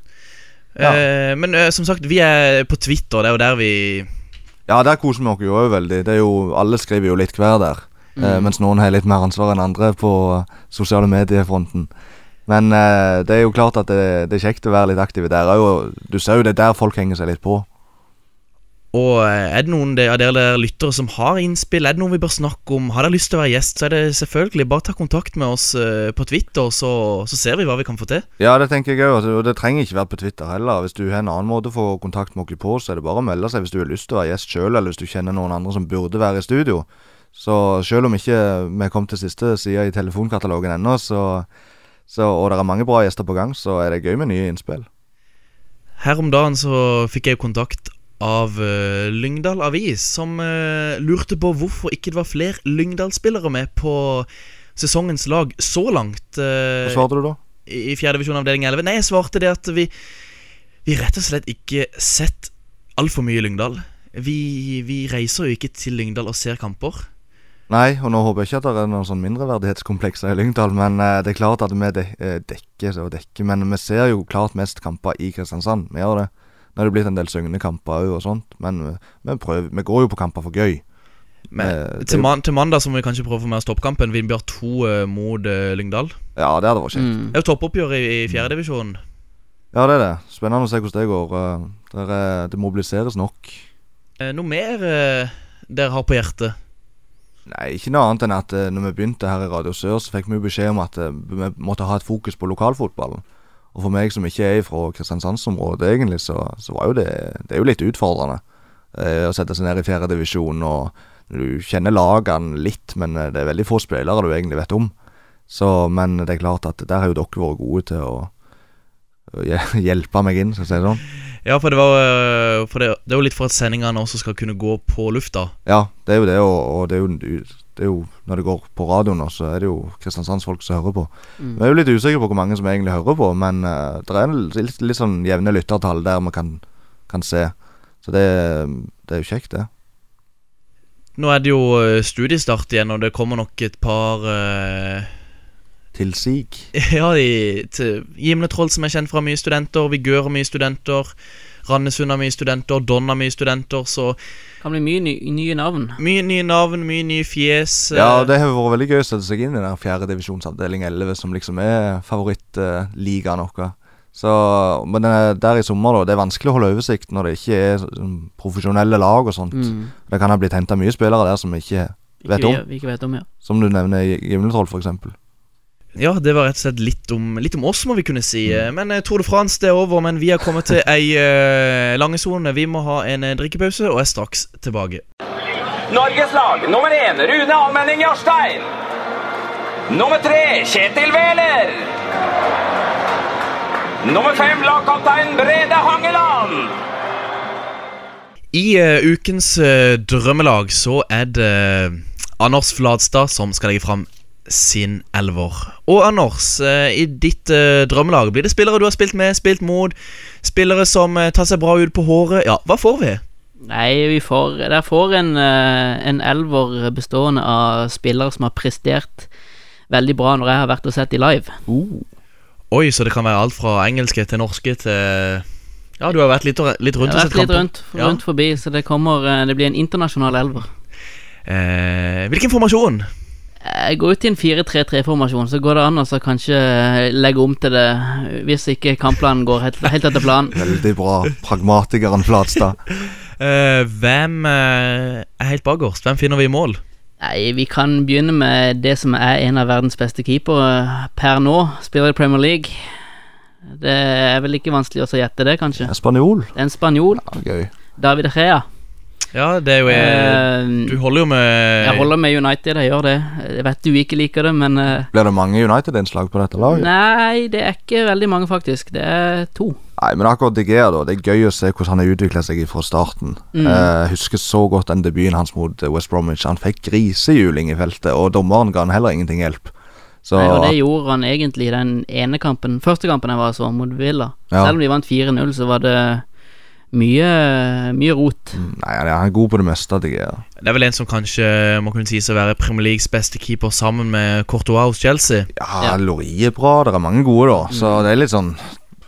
E: Ja.
C: Eh, men eh, som sagt, vi er på Twitter. Det er jo der vi
E: Ja, der koser vi oss jo òg veldig. Det er jo, alle skriver jo litt hver der. Eh, mens noen har litt mer ansvar enn andre på eh, sosiale mediefronten. Men eh, det er jo klart at det, det er kjekt å være litt aktiv der òg. og Du ser jo det er der folk henger seg litt på.
C: Og eh, er det noen de- av dere der lyttere som har innspill? Er det noe vi bør snakke om? Har dere lyst til å være gjest, så er det selvfølgelig bare ta kontakt med oss eh, på Twitter, så, så ser vi hva vi kan få til.
E: Ja, det tenker jeg òg. Og det trenger ikke være på Twitter heller. Hvis du har en annen måte å få kontakt med oss på, så er det bare å melde seg hvis du har lyst til å være gjest sjøl, eller hvis du kjenner noen andre som burde være i studio. Så sjøl om ikke vi kom til siste side i telefonkatalogen ennå, så, så, og det er mange bra gjester på gang, så er det gøy med nye innspill.
C: Her om dagen så fikk jeg kontakt av eh, Lyngdal Avis, som eh, lurte på hvorfor ikke det var flere Lyngdal-spillere med på sesongens lag så langt. eh,
E: Hva svarte du da?
C: i fjerde divisjon avdeling 11 Nei, jeg svarte det at vi Vi rett og slett ikke sett altfor mye i Lyngdal vi, vi reiser jo ikke til Lyngdal og ser kamper
E: Nei, og nå håper jeg ikke at det er noen sånn mindreverdighetskomplekser i Lyngdal, men eh, det er klart at vi dek eh, dekker så dekker, men vi ser jo klart mest kamper i Kristiansand. Vi gjør det. Nå er det blitt en del syngende kamper òg og sånt, men vi, vi prøver. Vi går jo på kamper for gøy.
C: Men
E: Eh, det-
C: til, man, til mandag så må vi kanskje prøve å få med oss toppkampen Vindbjørn 2 eh, mot eh, Lyngdal Det
E: Ja, det hadde vært kjekt.
D: Mm.
C: er jo toppoppgjør i, i fjerde divisjon
E: Ja, det er det. Spennende å se hvordan det går. eh, Der er, det mobiliseres nok.
C: eh, Noe mer eh, dere har på hjertet
E: Nei, ikke noe annet enn at eh, når vi begynte her i Radio Sør, så fikk vi jo beskjed om at eh, vi måtte ha et fokus på lokalfotballen. Og for meg som ikke er fra Kristiansandsområdet egentlig, så, så var jo det, det er jo litt utfordrende eh, å sette seg ned i fjerdedivisjon. Du kjenner lagene litt, men eh, det er veldig få spillere du egentlig vet om. Så, men det er klart at der har jo dere vært gode til å å hje- hjelpe meg inn, skal jeg si det sånn.
C: Ja, for det var øh, for det, det er jo litt for at sendingene også skal kunne gå på lufta.
E: Ja, det er jo det, og, og det, er jo, det er jo Når det går på radioen, nå, så er det jo Kristiansandsfolk som hører på.
D: Mm.
E: Vi er jo litt usikre på hvor mange som egentlig hører på, men eh, det er en litt, litt sånn jevne lyttertall der vi kan, kan se. Så det, det er jo kjekt, det.
C: Nå er det jo øh, studiestart igjen, og det kommer nok et par øh,
E: Til sig.
C: Ja, i- til Gimle Troll, som er kjent fra mye studenter, Vigør har mye studenter, Randesund har mye studenter, Don har mye studenter, så
D: Kan bli mye ny, nye navn.
C: mye nye navn, mye nye fjes. øh,
D: eh,
E: Ja, det har vært veldig gøy å sette seg inn i den fjerde divisjonsavdeling 11, som liksom er favorittligaen vår. Så, men den er der i sommer, da. Det er vanskelig å holde oversikt når det ikke er sånn profesjonelle lag og sånt.
D: Mm.
E: Det kan ha blitt henta mye spillere der som ikke Vet
D: ikke,
E: om.
D: vi- Vi ikke vet om, ja.
E: Som du nevner i Gimletroll, for eksempel.
C: Ja, det var rett og slett litt om, litt om oss, må vi kunne si. Eh, Men eh, Tour de France det er over, men vi har kommet til ei eh, lange sone. Vi må ha en eh, drikkepause og er straks tilbake.
B: Norges lag nummer én Rune Almenning Jarstein. Nummer tre Kjetil Wæler. Nummer fem lagkaptein Brede Hangeland.
C: I eh, ukens eh, drømmelag så er det eh, Anders Fladstad som skal legge fram sin elver. Og Anders, eh, i ditt eh, drømmelag blir det spillere du har spilt med, spilt mot, spillere som eh, tar seg bra ut på håret. Ja, hva får vi?
D: Nei, vi får Der får en, eh, en elver bestående av spillere som har prestert veldig bra når jeg har vært og sett de live.
C: Oi, så det kan være alt fra engelske til norske til Ja, du har vært litt, eh, litt rundt og
D: Jeg har
C: sett
D: vært litt
C: kamper.
D: rundt, rundt forbi, så det kommer eh, Det blir en internasjonal elver.
C: Eh, hvilken formasjon?
D: Jeg går ut i en 4-3-3-formasjon, så går det an å så kanskje eh, legge om til det hvis ikke kampplanen går helt, helt etter planen.
E: Veldig bra. Pragmatikeren Flatstad.
C: Eh, hvem eh, er helt bakerst? Hvem finner vi i mål?
D: Nei, vi kan begynne med det som er en av verdens beste keepere per nå. Spiller i Premier League. Det er vel ikke vanskelig å så gjette det, kanskje.
E: Spanjol.
D: Det er en spanjol.
E: Ja, gøy.
D: David Rea.
C: Ja, det er jo eh, Du holder jo med
D: Jeg holder med United, jeg gjør det. Jeg vet du ikke liker det, men eh,
E: Blir det mange United-innslag på dette laget? Nei.
D: Nei, det er ikke veldig mange, faktisk. Det er to.
E: men akkurat De Gea, da. Det er gøy å se hvordan han har utvikla seg fra starten.
D: Mm.
E: Eh, jeg husker så godt den debuten hans mot eh, West Bromwich. Han fikk grisehjuling i feltet, og dommeren ga han heller ingenting hjelp. Så
D: Nei, og det gjorde han egentlig i den ene kampen, første kampen jeg var så, mot Villa.
E: Ja.
D: Selv om de vant 4-0, så var det mye, mye rot.
E: Nei, han er- han er god på det meste, De Gea.
C: Det er vel en som kanskje må kunne sies å være Premier Leagues beste keeper sammen med Courtois hos Chelsea.
E: Ja,
D: Ja. Mm.
E: Lorie er bra. Det er mange gode, da. Så det er litt sånn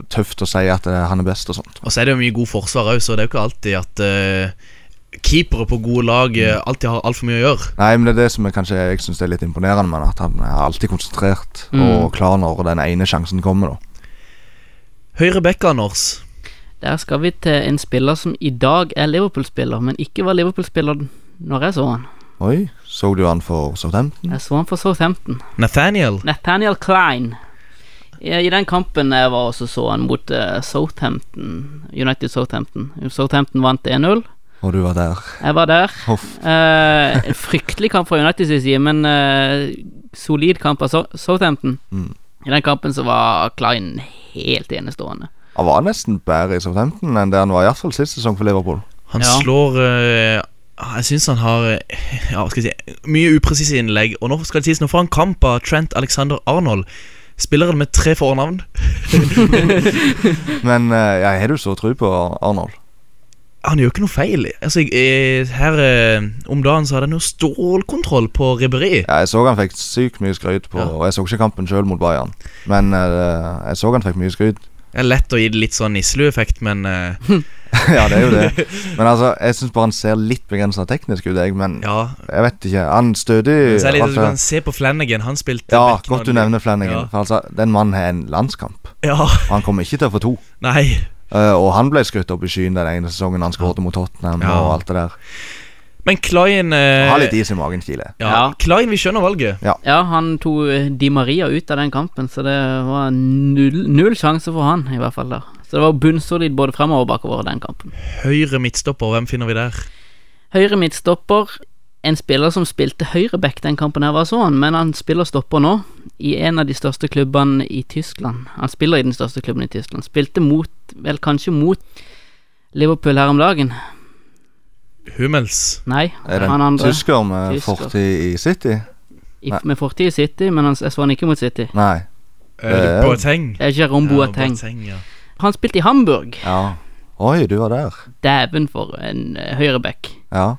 E: tøft å si at eh, han er best og sånt.
C: Og så er det jo mye god forsvar òg, så det er jo ikke alltid at eh, keepere på gode lag eh, alltid har altfor mye å gjøre.
E: Nei, men det er det som jeg kanskje jeg syns er litt imponerende med han, at han er alltid konsentrert
D: Mm.
E: og klar når den ene sjansen kommer, da.
C: Høyre back, Anders.
D: Der skal vi til en spiller som i dag er Liverpool-spiller, men ikke var Liverpool-spiller når jeg så han.
E: Oi, så du han for Southampton?
D: Jeg så han for Southampton.
C: Nathaniel.
D: Nathaniel Klein. I i den kampen jeg var også så han mot eh, Southampton, United Southampton. Southampton vant 1-0.
E: Og du var der.
D: Jeg var der.
E: Huff.
D: Eh, en fryktelig kamp fra United sin side, men eh, solid kamp av so Southampton.
E: Mm.
D: I den kampen så var Klein helt enestående.
E: Han var nesten bedre i Southampton enn det han var i hvert fall sist sesong for Liverpool.
C: Han
D: Ja.
C: slår eh, Jeg syns han har eh, ja, hva skal jeg si, mye upresise innlegg. Og nå skal det sies, nå får han kamp av Trent Alexander Arnold. Spilleren med tre fornavn.
E: Men eh, jeg har du så tro på Ar- Arnold?
C: Han gjør ikke noe feil. Altså, jeg, eh, her eh, om dagen så hadde han jo stålkontroll på Ribberi.
E: Ja, jeg så han fikk sykt mye skryt på
C: Ja.
E: Og jeg så ikke kampen sjøl mot Bayern, men eh, jeg så han fikk mye skryt.
C: Det er lett å gi det litt sånn nisleeffekt, men eh,
E: ja, det er jo det. Men altså, jeg syns bare han ser litt begrensa teknisk ut, jeg. Men
C: ja.
E: jeg vet ikke. Han stødig
C: Så er det litt,
E: altså-
C: du kan se på Flanagan. Han spilte
E: Ja,
C: back
E: godt
C: når-
E: du nevner Flanagan.
C: Ja.
E: For altså, den mannen har en landskamp,
C: Ja,
E: og han kommer ikke til å få to.
C: Nei.
E: Eh, og han ble skrytt opp i skyen den ene sesongen han skåret mot Tottenham
C: Ja.
E: og alt det der.
C: Men Klein eh,
E: Ha litt is i magen, Kile.
C: ja,
D: Ja.
C: Klein, vi skjønner valget.
D: Ja, han tok eh, Di Maria ut av den kampen, så det var null, null sjanse for han, i hvert fall der. Så det var bunnsolid både fremover og bakover den kampen.
C: Høyre midtstopper, hvem finner vi der?
D: Høyre midtstopper. En spiller som spilte høyreback den kampen her, var sånn, men han spiller stopper nå, i en av de største klubbene i Tyskland. Han spiller i den største klubben i Tyskland. Spilte mot, vel kanskje mot Liverpool her om dagen.
C: Hummels.
D: Nei,
E: Er det
D: han
E: en
D: andre.
E: tysker med
D: Tysker.
E: fortid i City?
D: I, med fortid i City, men han, jeg så han ikke mot City.
E: Nei.
C: Eh,
E: Eh,
C: Boateng.
D: Det er Jerome Boateng.
C: ja.
D: Han spilte i Hamburg.
E: Ja. Oi, du var der.
D: Dæven for en eh, høyreback.
E: Ja.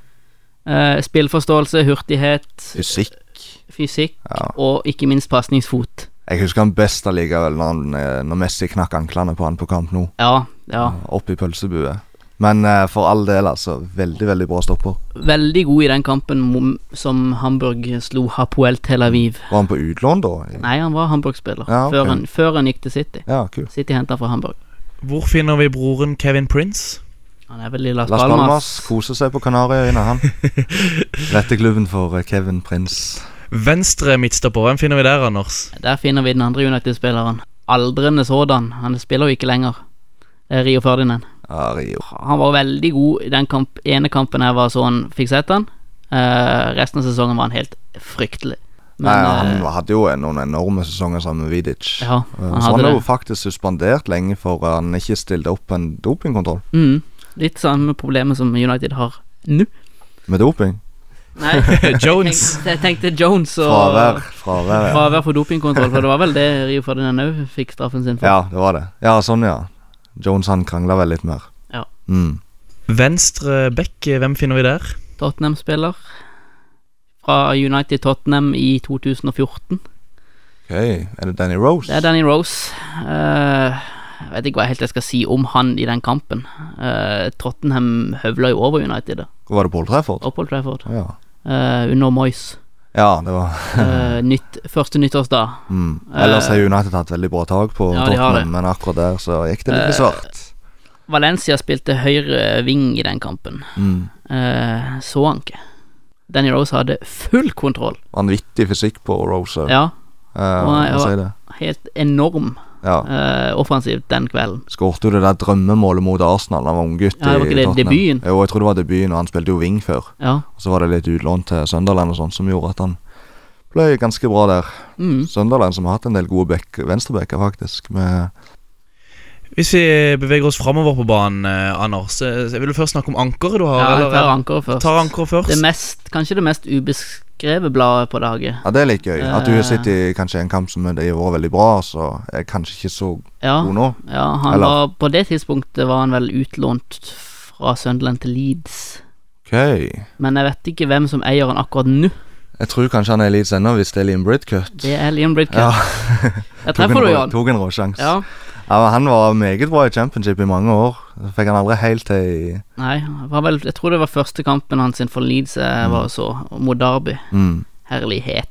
D: Eh, spillforståelse, hurtighet,
E: Fysikk.
D: fysikk
E: Ja.
D: og ikke minst pasningsfot.
E: Jeg husker han best allikevel når, han, eh, når Messi knakk anklene på han på kamp nå.
D: Ja, ja.
E: Opp i pølsebue. Men eh, for all del, altså. Veldig, veldig bra stopper.
D: Veldig god i den kampen mom- som Hamburg slo Hapoel Tel Aviv.
E: Var han på utlån, da?
D: Nei, han var Hamburg-spiller
E: Ja, ok.
D: før, han- før han gikk til City.
E: Ja, kult.
D: City henta fra Hamburg.
C: Hvor finner vi broren Kevin Prince?
D: Han er vel i Las,
E: Las Palmas
D: Palmas.
E: koser seg på Kanariøyene, han. Dette er klubben for eh, Kevin Prince.
C: Venstre midtstopper, hvem finner vi der, Anders?
D: Der finner vi den andre United-spilleren. Aldrende sådan. Han spiller jo ikke lenger. Det er Rio Ferdinand.
E: Ja, Rio.
D: Han var veldig god i den kamp, ene kampen jeg var så han fikk sett han. Eh, resten av sesongen var han helt fryktelig. Men,
E: Nei, han
D: eh,
E: hadde jo en- noen enorme sesonger sammen med Vidic.
D: Ja,
E: Eh,
D: han
E: så han
D: hadde
E: er jo
D: det.
E: faktisk suspendert lenge for han ikke stilte opp på en dopingkontroll.
D: Mm, litt samme problemet som United har nå.
E: Med doping?
D: Nei,
C: Jones.
D: Jeg tenkte Jones og
E: Fravær. Fravær, ja.
D: Fravær for dopingkontroll, for det var vel det Rio Ferdinand òg fikk straffen sin for.
E: Ja, det var det. Ja, sånn, ja. Jones han krangla vel litt mer.
D: Ja.
E: Mm.
C: Venstre back, eh, hvem finner vi der?
D: Tottenham-spiller. Fra United Tottenham i 2014.
E: Ok, Er det Danny Rose?
D: Det er Danny Rose. Eh, jeg vet ikke hva helt jeg skal si om han i den kampen. Eh, Tottenham høvla jo over United da,
E: Hvor var det Paul Trafford?
D: og Paul Trafford,
E: Ja.
D: eh, under Moyes.
E: ja, det var
D: Eh, nytt, første nyttårsdag.
E: mm. Ellers har United hatt veldig bra tak på
D: Eh, Ja, de har det. Eh,
E: Tottenham, men akkurat der så gikk det litt i svart.
D: Valencia spilte høyre ving i den kampen.
E: Mm.
D: Eh, så han ikke. Danny Rose hadde full kontroll.
E: Vanvittig fysikk på Rose òg,
D: Ja, Nei, ja.
E: si det.
D: helt enorm
E: Ja.
D: eh, offensivt den kvelden.
E: Skårte jo det der drømmemålet mot Arsenal da han var unggutt.
D: Ja, det var
E: i
D: ikke det
E: Tottenham.
D: debuten?
E: Jo, jeg tror det var debuten, og han spilte jo wing før.
D: Ja.
E: Så var det litt utlån til Sunderland og sånn som gjorde at han ble ganske bra der.
D: Mm.
E: Sunderland som har hatt en del gode back- venstrebacker, faktisk. Med
C: Hvis vi eh, beveger oss framover på banen, eh, Anders, eh, vil du først snakke om ankeret du har?
D: ja jeg
C: eller-
D: tar ankeret først.
C: Tar ankeret først.
D: Det mest, kanskje det mest ubeskrevet bladet på laget.
E: Ja, det er litt gøy. At du
D: Eh.
E: har sett i kanskje en kamp som de har vært veldig bra, så er kanskje ikke så
D: Ja,
E: god nå.
D: ja han
E: Eller-
D: var, på det tidspunktet var han vel utlånt fra Sunderland til Leeds.
E: Ok. Jeg
D: Men jeg vet ikke hvem som eier han akkurat nå.
E: tror kanskje han er litt ennå, hvis det er Liam Bridcut.
D: Det er Liam Bridcut.
E: Ja.
D: Jeg
E: Tok en,
D: treffer du,
E: rå-
D: Jan.
E: tok en råsjans.
D: Ja.
E: Ja, men han var meget bra i championship i mange år. Fikk han aldri helt til i
D: Nei, det var vel, jeg tror det var første kampen hans sin for Leeds jeg var og så, og mot Derby.
E: mm.
D: Herlighet.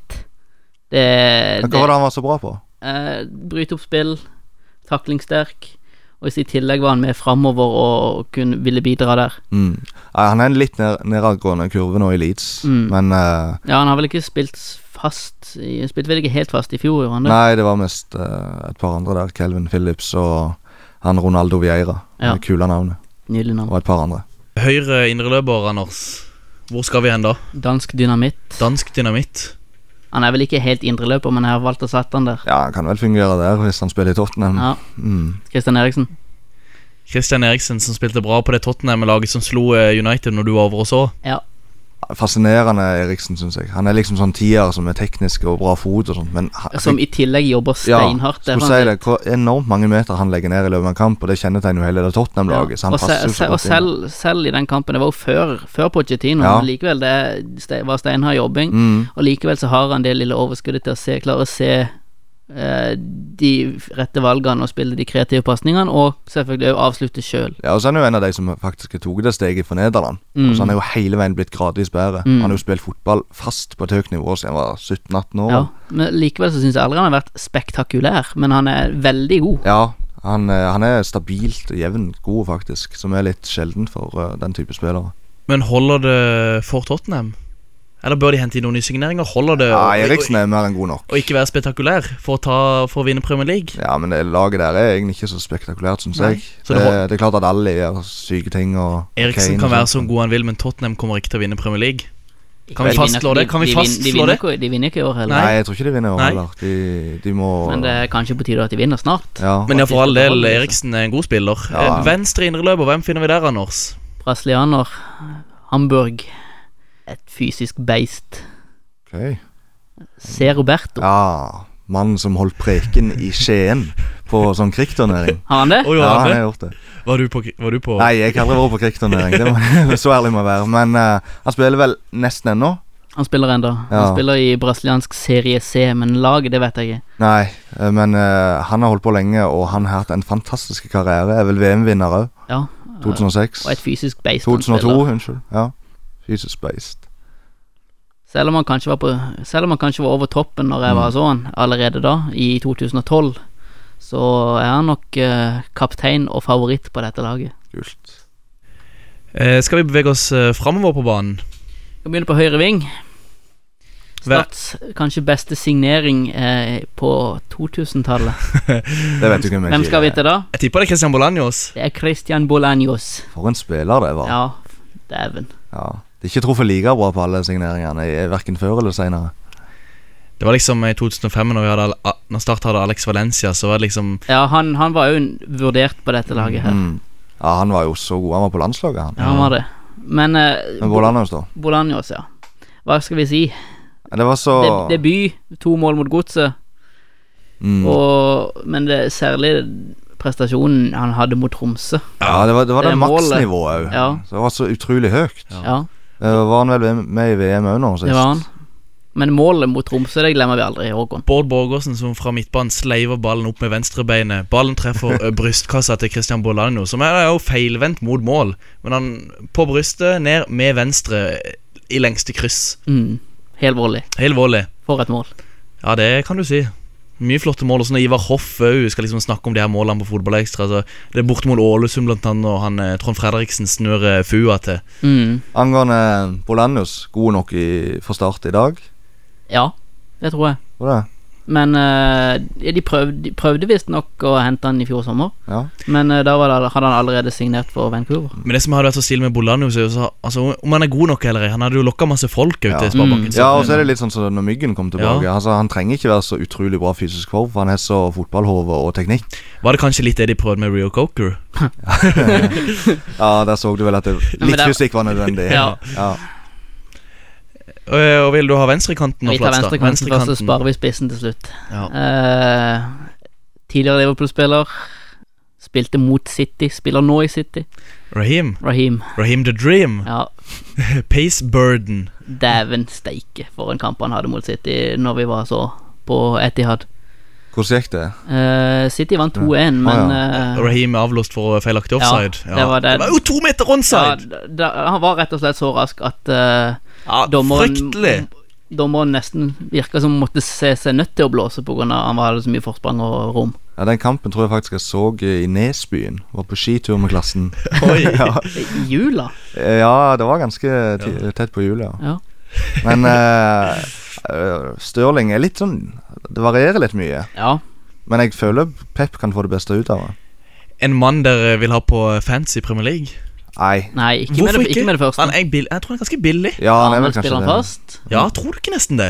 D: Det,
E: Men Hva
D: det
E: var det han var så bra på?
D: eh, Bryte opp spill, taklingssterk. Og i sitt tillegg var han med framover og kunne, ville bidra der.
E: Mm. Ja, han er en litt ned, nedadgående kurve nå i Leeds,
D: Mm.
E: men eh,
D: Ja, han har vel ikke spilt fast i- Spilte vel ikke helt fast i fjor, gjorde han det?
E: Nei, det var mest eh, et par andre der. Kelvin Phillips og han Ronaldo Vieira.
D: Ja.
E: Det Kule navnet.
D: Nydelig navn.
E: Og et par andre.
C: Høyre indreløper, Anders. Hvor skal vi hen da?
D: Dansk dynamitt.
C: Dansk dynamitt.
D: Han er vel ikke helt indreløper, men jeg har valgt å sette han der.
E: Ja, han kan vel fungere der hvis han spiller i Tottenham.
D: Ja,
E: Mm.
D: Christian Eriksen.
C: Christian Eriksen som spilte bra på det Tottenham-laget som slo eh, United når du var over og så.
E: Fascinerende Eriksen, syns jeg. Han er liksom sånn tier som er teknisk og bra fot og sånt, men han,
D: Som i tillegg jobber steinhardt.
E: Ja,
D: er
E: skulle
D: han-
E: si det. Hvor enormt mange meter han legger ned i løpet av en kamp, og det kjennetegner jo hele det Tottenham-laget. Så han
D: og se,
E: passer jo
D: se,
E: så
D: og
E: godt inn.
D: selv, selv i den kampen, det var jo før, før Pochettino,
E: Ja.
D: men likevel det ste- var steinhard jobbing.
E: Mm.
D: Og likevel så har han det lille overskuddet til å se, klare å se eh, de rette valgene og spille de kreative pasningene, og selvfølgelig også avslutte sjøl.
E: Ja, og så er han jo en av de som faktisk har tatt det steget for Nederland.
C: Mm.
E: Og så han er jo hele veien blitt gradvis bedre.
D: Mm.
E: Han har jo spilt fotball fast på et høyt nivå siden han var 17-18 år.
D: Ja. Men likevel så syns jeg aldri han har vært spektakulær, men han er veldig god.
E: Ja, han, eh, han er stabilt og jevn god, faktisk. Som er litt sjelden for eh, den type spillere.
C: Men holder det for Tottenham? Eller bør de hente inn noen nysigneringer? Holder det
E: Ja,
C: å-
E: Ah, Eriksen er mer enn god nok.
C: å ikke være spektakulær for å, ta, for å vinne Premier League?
E: Ja, men det laget der er egentlig ikke så spektakulært, syns
C: Nei.
E: jeg.
C: Så
E: Det,
C: det
E: det er klart at alle gjør syke ting. og
C: Eriksen
E: Kane
C: kan
E: og
C: være
E: sånt.
C: så god han vil, men Tottenham kommer ikke til å vinne Premier League. Kan vi
D: De vinner-
C: fastslå det? Kan vi
D: de- de vinner-
C: fastslå det?
D: De vinner, ikke, de vinner ikke i år heller.
E: Nei, jeg tror ikke de vinner i år
C: Nei.
E: heller. De, de må
D: Men det er kanskje på tide at de vinner snart.
E: ja.
C: Men ja, for all del,
D: Faktisk,
C: Eriksen er en god spiller.
E: Ja.
C: Eh, Venstre indreløper, hvem finner vi der, Anders?
D: Brasilianer, Hamburg, et fysisk beist.
E: ok.
D: Se Roberto.
E: Ja, Mannen som holdt preken i Skien på sånn krigsturnering.
D: Har han det?
C: Oi,
E: Ja, han
C: Arne,
E: har gjort det.
C: var du på, var du på
E: Nei, jeg har aldri vært på krigsturnering. Det må, så ærlig må jeg være. Men eh, han spiller vel nesten ennå.
D: Han spiller ennå.
E: Ja.
D: Han spiller i brasiliansk serie C, men laget, det vet jeg ikke.
E: Nei, eh, men eh, han har holdt på lenge, og han har hatt en fantastisk karriere. Er vel VM-vinner òg.
D: Ja,
E: 2006.
D: Og et fysisk beist. han
E: 2002,
D: spiller.
E: unnskyld. Ja. Jesus Based.
D: Selv om han kanskje var, på, selv om han kanskje var over toppen når
E: Mm.
D: jeg var så han allerede da, i 2012, så er han nok eh, kaptein og favoritt på dette laget.
E: Kult.
C: Eh, skal vi bevege oss eh, framover på banen?
D: Vi begynner på høyre ving.
C: Hver-
D: Stats kanskje beste signering eh, på 2000-tallet.
E: Det vet du ikke om jeg
D: Hvem skal vi
E: sier.
D: til da?
C: Jeg tipper det er Christian Bolanjos.
D: Det er Christian Bolanjos.
E: For en spiller det var. Ja.
D: Ja, dæven.
E: Det er ikke truffet like bra på alle signeringene, i- hverken før eller senere.
C: Det var liksom i 2005, når, vi hadde, Al- A- når Start hadde Alex Valencia, så var det liksom
D: Ja, han, han var jo vurdert på dette laget her.
E: Mm. Ja, han var jo så god. Han var på landslaget, han.
D: Ja, han var det. Men
E: Men
D: eh,
E: hvordan er det da?
D: Bolanjos, ja. Hva skal vi si?
E: Ja, Det var så
D: De, debut, to mål mot godset.
E: mm.
D: Og, men det er særlig prestasjonen han hadde mot Tromsø.
E: Ja, det var det, var det
D: det målet.
E: maksnivået òg.
D: Ja.
E: Det var så utrolig høyt.
D: Ja.
E: Eh, var han vel med i VM òg nå sist?
D: det var han. Men målet mot Tromsø, det glemmer vi aldri, Håkon.
C: Bård Borgersen som fra midtbanen sleiver ballen opp med venstrebeinet. Ballen treffer ø, brystkassa til Christian Bolano, som er jo feilvendt mot mål. Men han på brystet, ned med venstre i lengste kryss.
D: Mm. Helt voldelig.
C: Hel volley.
D: For et mål.
C: Ja, det kan du si. Mye flotte mål. Og så når Ivar Hoff òg skal liksom snakke om de her målene på Fotballekstra. Altså, det er borte mot Ålesund, blant annet, og han eh, Trond Fredriksen snur eh, fua til.
D: Mm.
E: Angående Bolanus, god nok i, for start i dag?
D: Ja, det tror jeg.
E: Var det?
D: Men eh, de prøvde, de prøvde visstnok å hente han i fjor sommer.
E: Ja.
D: Men eh, da var det, hadde han allerede signert for Vancouver.
C: Men det som hadde vært så stille med Bolanius, er jo så- altså, om han er god nok eller ei. Han hadde jo lokka masse folk ut
E: Ja.
C: til Sparebanken.
D: Mm,
E: Ja, og så er det litt sånn som når Myggen kom tilbake. Altså, han trenger ikke være så utrolig bra fysisk form, for han har så fotballhode og teknikk.
C: Var det kanskje litt det de prøvde med Rio Coker?
E: Ja, Der så du vel at det,
D: men
E: litt
D: det-
E: fysikk var nødvendig.
D: Ja.
E: Ja.
C: Og, Eh, og vil du ha venstrekanten og
D: Vi tar
C: plass, da?
D: venstrekanten først, så sparer vi spissen til slutt.
C: Ja.
D: Eh, tidligere Liverpool-spiller. Spilte mot City. Spiller nå i City.
C: Raheem.
D: Raheem.
C: Raheem the Dream.
D: Ja,
C: Pace Burden.
D: Dæven steike for en kamp han hadde mot City når vi var så på Etihad.
E: Hvordan gikk det?
D: Eh, City vant 2-1, men eh,
C: Raheem er avlåst for eh, feilaktig
D: Ja,
C: offside. Ja,
D: det var det.
C: jo to meter
D: ja,
C: onside!
D: da, da- han var rett og slett så rask at eh,
C: Ja,
D: dommeren
C: Fryktelig.
D: Dommeren nesten virka som hun måtte se seg nødt til å blåse pga. han hadde så mye forsprang og rom.
E: Ja, Den kampen tror jeg faktisk jeg så i Nesbyen. Var på skitur med klassen. Eh,
C: Oi.
D: I jula.
E: Ja, det var ganske ti- tett på jul, ja.
D: Ja.
E: Men uh, Stirling er litt sånn Det varierer litt mye.
D: ja.
E: Men jeg føler Pep kan få det beste ut av det.
C: En mann dere vil ha på eh, fancy Premier League?
E: Nei.
D: Nei, ikke med, det, ikke med det første.
C: Han er bill jeg tror han er ganske billig.
E: Ja, han er vel
D: spiller
E: kanskje
D: han
E: det.
D: fast.
C: Ja, tror du ikke nesten det?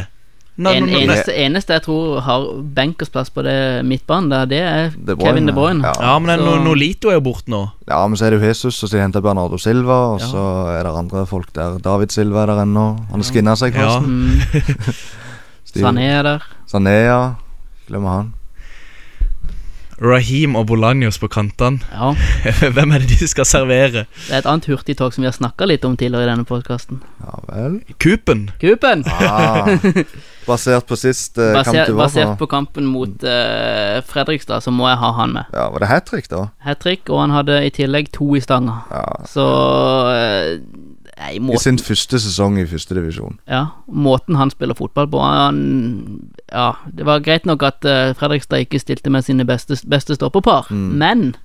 C: Nei,
D: En,
C: nei, nei.
D: eneste, eneste jeg tror har benkersplass på det midtbanen, der, det er
E: De Bruyne.
D: Kevin De Bruyne.
E: Ja.
C: Ja, men den
D: Så-
C: Nolito er jo borte nå.
E: Ja, men så er det jo Jesus, og så henter Bernardo Silva, og
C: Ja.
E: så er det andre folk der. David Silva er der ennå. Han har skinna seg,
C: Ja.
E: forresten.
D: Mm,
E: Stil-
D: Sané er der.
E: Sané, ja. Glemmer han.
C: Raheem og Bolanjos på kantene.
D: Ja.
C: Hvem er det de skal servere?
D: Det er et annet hurtigtog som vi har snakka litt om tidligere i denne podkasten.
E: Ja vel.
C: Coopen.
D: Kupen!
E: Ah, basert på sist eh, kamp
D: Baser,
E: du var
D: basert
E: på.
D: på kampen mot eh, Fredrikstad, så må jeg ha han med.
E: Ja, Var det hat trick, da?
D: Hat trick, og han hadde i tillegg to i stanga.
E: Ja.
D: Så eh, Nei,
E: I
D: måten,
E: sin første sesong i førstedivisjon.
D: ja, måten han spiller fotball på han, Ja, det var greit nok at eh, Fredrikstad ikke stilte med sine beste, beste stopperpar, men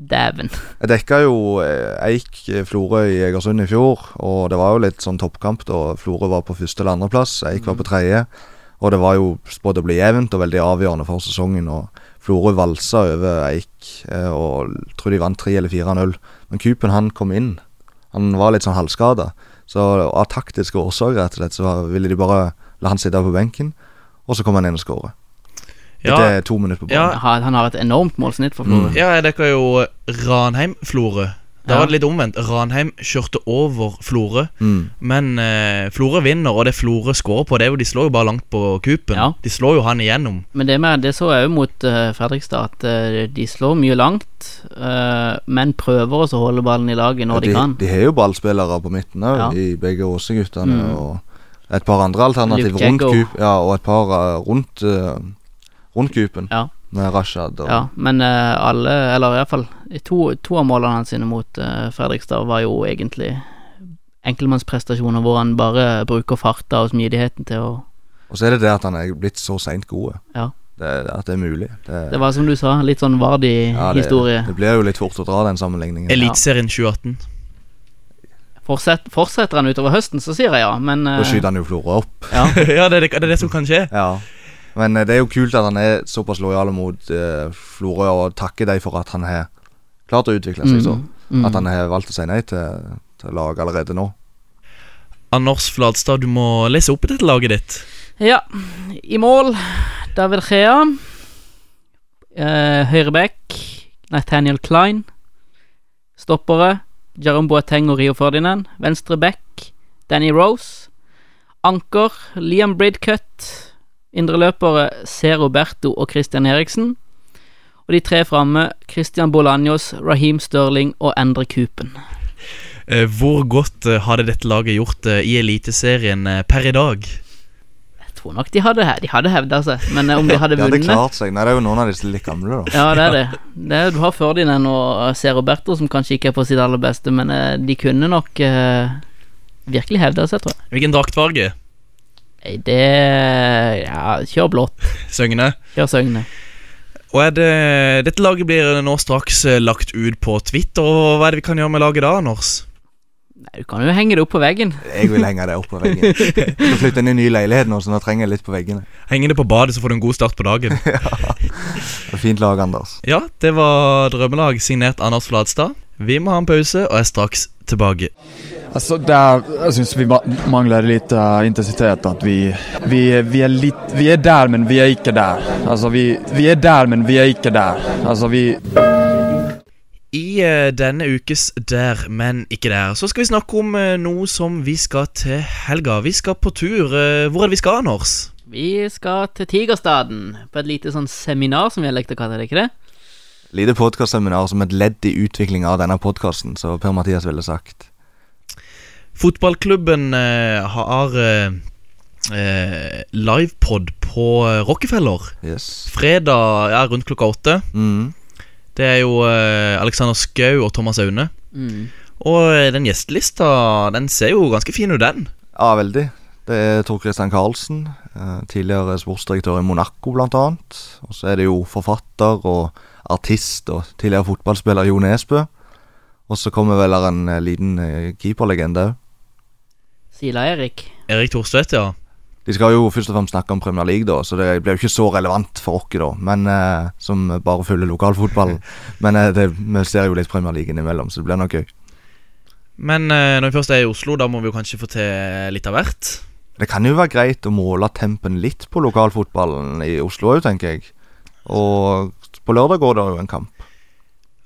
D: Dæven.
E: Jeg dekka jo eh, Eik eh, Florø i Egersund i fjor, og det var jo litt sånn toppkamp da Florø var på første eller andreplass, Eik
C: Mm.
E: var på tredje. Og det var jo spådd å bli jevnt og veldig avgjørende for sesongen, og Florø valsa over Eik eh, og tror de vant 3 eller 4-0. Men Kupen han kom inn. Han var litt sånn halvskada, så av taktiske årsaker rett og slett så ville de bare la han sitte på benken, og så kom han inn og skåra.
C: Ja,
E: Etter to minutter på
C: ja, Mm.
E: banen.
D: Han han har et enormt målsnitt for Florø.
C: ja, jeg dekka jo Ranheim-Florø. Da
D: Ja.
C: var det litt omvendt. Ranheim kjørte over Florø.
E: Mm.
C: Men eh, Florø vinner, og det Florø scorer på, det er jo de slår jo bare langt på kupen.
D: Ja.
C: De slår jo han igjennom.
D: Men det, med, det så jeg jo mot eh, Fredrikstad, at eh, de slår mye langt, eh, men prøver også å holde ballen i laget når de,
E: de,
D: kan.
E: de har jo ballspillere på midten òg,
D: Ja. Mm.
E: i begge Åse-guttene. Og et par andre alternativ
D: Luke
E: rundt
D: Jacko.
E: kup, ja, og et par eh, rundt, eh, rundt kupen.
D: Ja.
E: Med Rashad og
D: Ja, men eh, alle, eller iallfall to, to av målene hans sine mot eh, Fredrikstad var jo egentlig enkeltmannsprestasjoner hvor han bare bruker farta og smidigheten til å
E: Og så er det det at han er blitt så seint god.
D: Ja.
E: Det, at det er mulig. Det,
D: Det var som du sa, litt sånn
E: ja, det,
D: Vardi-historie.
E: det blir jo litt fort å dra den sammenligningen.
C: Eliteserien 2018.
D: Fortsett, fortsetter han utover høsten, så sier jeg ja, men eh,
E: Da skyter han jo Florø opp.
C: ja, det er det, det er det som kan skje.
E: Ja. Men eh, det er jo kult at han er såpass lojal mot eh, Florø, og takker dem for at han har klart å utvikle
D: Mm.
E: seg så. At han har valgt å si nei til, til laget allerede nå.
C: Anders Flatstad, du må lese opp dette laget ditt.
D: Ja, i mål David Rea. Eh, Høyrebekk Nathaniel Klein. Stoppere Jarom Boateng og Rio Ferdinand. Venstre back Danny Rose. Anker Liam Bridcutt. Indreløpere C. Roberto og Christian Eriksen. Og de tre framme Christian Bolanjos, Raheem Sterling og Endre Kupen.
C: Eh, hvor godt eh, hadde dette laget gjort eh, i Eliteserien eh, per i dag?
D: Jeg tror nok de hadde, he- de hadde hevda seg, men eh, om de hadde
E: De hadde
D: vunnet
E: klart seg. Nei, det er jo noen av disse litt gamle, da.
D: Ja, det er det. det er, du har Ferdinand og eh, C. Roberto, som kanskje ikke er på sitt aller beste, men eh, de kunne nok eh, virkelig hevda seg, tror jeg.
C: Hvilken draktfarge?
D: Nei, det Ja, kjør blått.
C: Søgne.
D: Kjør Søgne.
C: Og er det, Dette laget blir nå straks eh, lagt ut på Twitter. Og Hva er det vi kan gjøre med laget da, Anders?
D: Nei, Du kan jo henge det opp på veggen.
E: Jeg vil henge det opp på veggen. Jeg skal flytte inn i en ny leilighet nå, så nå trenger jeg litt på veggene.
C: Henge det på badet, så får du en god start på dagen.
E: Det er Fint lag, Anders.
C: ja, det var drømmelag signert Anders Flatstad. Vi må ha en pause og er straks tilbake.
K: Altså, det er, jeg syns vi ma- mangler litt eh, intensitet. At vi, vi, vi, er litt, vi er der, men vi er ikke der. Altså, vi, vi er der, men vi er ikke der. Altså, vi,
C: I eh, denne ukes Der, men ikke der, så skal vi snakke om eh, noe som vi skal til helga. Vi skal på tur. Eh, hvor er det vi skal, Anders?
D: Vi skal til Tigerstaden på et lite sånn seminar, som vi har lekt å kalle det, ikke det?
E: Lite podkastseminar som et ledd i utviklinga av denne podkasten, som Per-Mathias ville sagt.
C: Fotballklubben eh, har eh, eh, livepod på eh, Rockefeller.
E: Yes.
C: Fredag ja, rundt klokka åtte.
E: Mm.
C: Det er jo eh, Alexander Skau og Thomas Aune.
D: Mm.
C: Og eh, den gjestelista den ser jo ganske fin ut, den.
E: Ja, veldig. Det er Tor Christian Karlsen, eh, tidligere sportsdirektør i Monaco, blant annet. Og så er det jo forfatter og artist og tidligere fotballspiller Jo Nesbø. Og så kommer vel der en eh, liten eh, keeperlegende òg.
D: Sila Erik.
C: Erik Thorstvedt, ja.
E: De skal jo først og fremst snakke om Premier League, da, så det blir jo ikke så relevant for oss, da. Men eh, Som bare følger lokalfotballen. Men eh, det, vi ser jo litt Premier League innimellom, så det blir nok gøy.
C: Men eh, når vi først er i Oslo, da må vi jo kanskje få til litt av hvert.
E: Det kan jo være greit å måle tempen litt på lokalfotballen i Oslo òg, tenker jeg. Og på lørdag går det jo en kamp.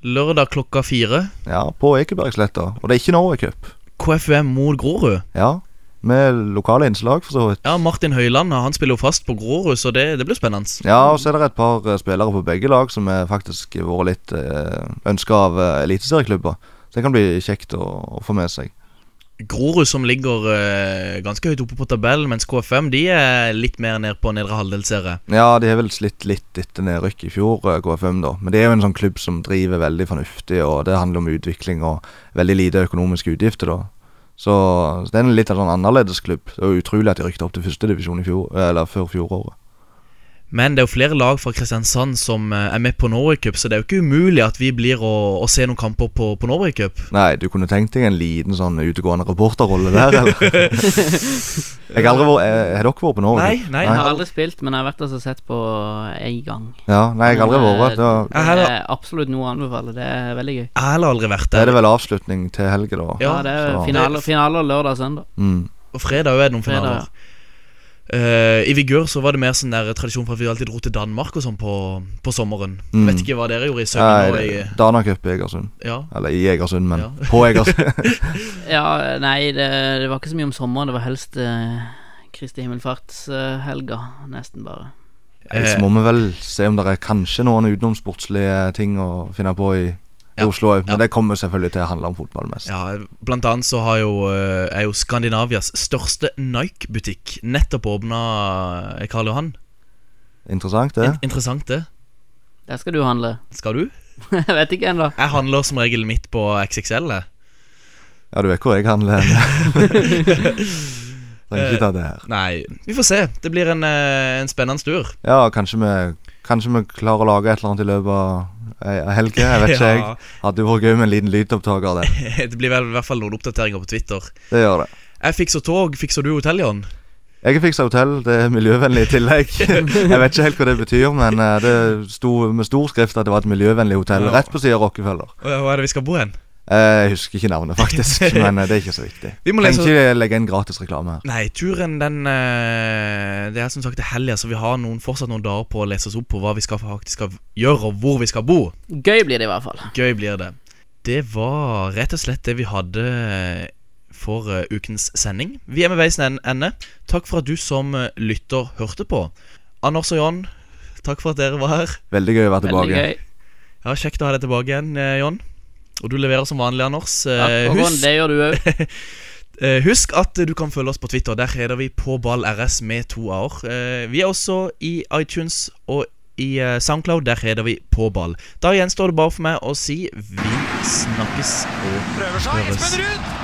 C: Lørdag klokka fire.
E: Ja, på Ekebergsletta. Og det er ikke Norway Cup.
C: KFUM mot Grorud.
E: Ja, med lokale innslag, for så vidt.
C: Ja, Martin Høiland han spiller jo fast på Grorud, så det, det blir spennende.
E: Ja, og så er det et par eh, spillere på begge lag som er faktisk vært litt eh, ønska av eh, eliteserieklubber. Så det kan bli kjekt å, å få med seg.
C: Grorud som ligger eh, ganske høyt oppe på tabellen, mens KFM de er litt mer ned på nedre halvdel, ser jeg.
E: Ja, de har vel slitt litt etter nedrykk i fjor, eh, KFUM, da. Men det er jo en sånn klubb som driver veldig fornuftig, og det handler om utvikling og veldig lite økonomiske utgifter, da. Så så det er en litt av en sånn annerledes klubb. Det er jo utrolig at de rykket opp til førstedivisjon i fjor, eller før eh, fjoråret.
C: Men det er jo flere lag fra Kristiansand som eh, er med på Norway Cup, så det er jo ikke umulig at vi blir å, å se noen kamper på, på Norway Cup.
E: Nei, du kunne tenkt deg en liten sånn utegående reporterrolle der, eller? jeg har aldri vært eh, Har dere vært på Norge?
D: Jeg har aldri spilt, men jeg har vært der og sett på én gang.
E: Ja, nei, jeg har aldri
D: Men,
E: vært. Det,
D: eh,
E: var,
D: Det er absolutt noe å anbefale. Det er veldig gøy.
C: Jeg har heller aldri vært
E: det er
C: der.
E: det vel avslutning til helga, da.
D: Ja, det er
E: så-
D: finaler, finaler lørdag og søndag.
E: Mm.
C: Og fredag er det noen
D: Fredag,
C: finaler. Eh, I Vigør så var det mer sånn der tradisjon for at vi alltid dro til Danmark og sånn på, på sommeren.
E: Mm.
C: Vet ikke hva dere gjorde i
E: Nei,
C: Søgne. og i-
E: det- Dana Cup i Egersund.
C: Ja.
E: Eller i Egersund, men
C: Ja.
E: på Egersund.
D: Ja, nei, det, det var ikke så mye om sommeren. Det var helst eh, Kristi himmelfartshelga, nesten bare.
C: Eh,
E: så må vi vel se om det er kanskje noen utenomsportslige ting å finne på i, i
C: Ja,
E: Oslo òg. Men
C: ja.
E: det kommer selvfølgelig til å handle om fotball mest.
C: Ja, Blant annet så har jo, eh, er jo Skandinavias største Nike-butikk nettopp åpna Karl Johan.
E: Interessant, det.
C: In interessant, det.
D: Der skal du handle.
C: Skal du?
D: Jeg vet ikke ennå.
C: Jeg handler som regel midt på XXL. jeg.
E: Ja, du vet hvor jeg handler.
C: Eh.
E: Trenger ikke ta det her.
C: Nei, vi får se. Det blir en, eh, en spennende tur.
E: Ja, kanskje vi, kanskje vi klarer å lage et eller annet i løpet av ei ei helg. Jeg vet ikke,
C: Ja.
E: jeg. Hadde jo vært gøy med en liten lydopptaker av det.
C: Det blir vel i hvert fall noen oppdateringer på Twitter.
E: Det gjør det.
C: Jeg fikser tog. Fikser du hotell, Jan?
E: Jeg fiksa hotell, det er miljøvennlig i tillegg. Jeg vet ikke helt hva det betyr, men eh, det sto med stor skrift at det var et miljøvennlig hotell
C: Ja.
E: rett på siden av Rockefeller.
C: Og Hva er det vi skal bo hen?
E: Eh, Jeg husker ikke navnet, faktisk, men eh, det er ikke så viktig.
C: Vi må
E: Trenger
C: lese
E: ikke legge inn gratis reklame her.
C: Nei, turen den eh, Det er som sagt til helga, så vi har noen, fortsatt noen dager på å lese oss opp på hva vi skal faktisk skal gjøre, og hvor vi skal bo.
D: Gøy blir det i hvert fall.
C: Gøy blir det. Det var rett og slett det vi hadde for eh, ukens sending. Vi er med veis en- ende. Takk for at du som eh, lytter hørte på. Anders og John, takk for at dere var her.
E: Veldig gøy å være
D: Veldig
E: tilbake.
D: gøy.
C: Ja, Kjekt å ha deg tilbake igjen, eh, John. Og du leverer som vanlig, Anders. Eh,
D: Takk, Håkon.
C: husk,
D: Det gjør du òg.
C: eh, husk at eh, du kan følge oss på Twitter. Der heter vi på ball RS med to a-er. Eh, vi er også i iTunes og i eh, Soundcloud. Der heter vi på ball. Da gjenstår det bare for meg å si vi snakkes og
B: Prøver seg.
C: høres.
B: Espen Ruud!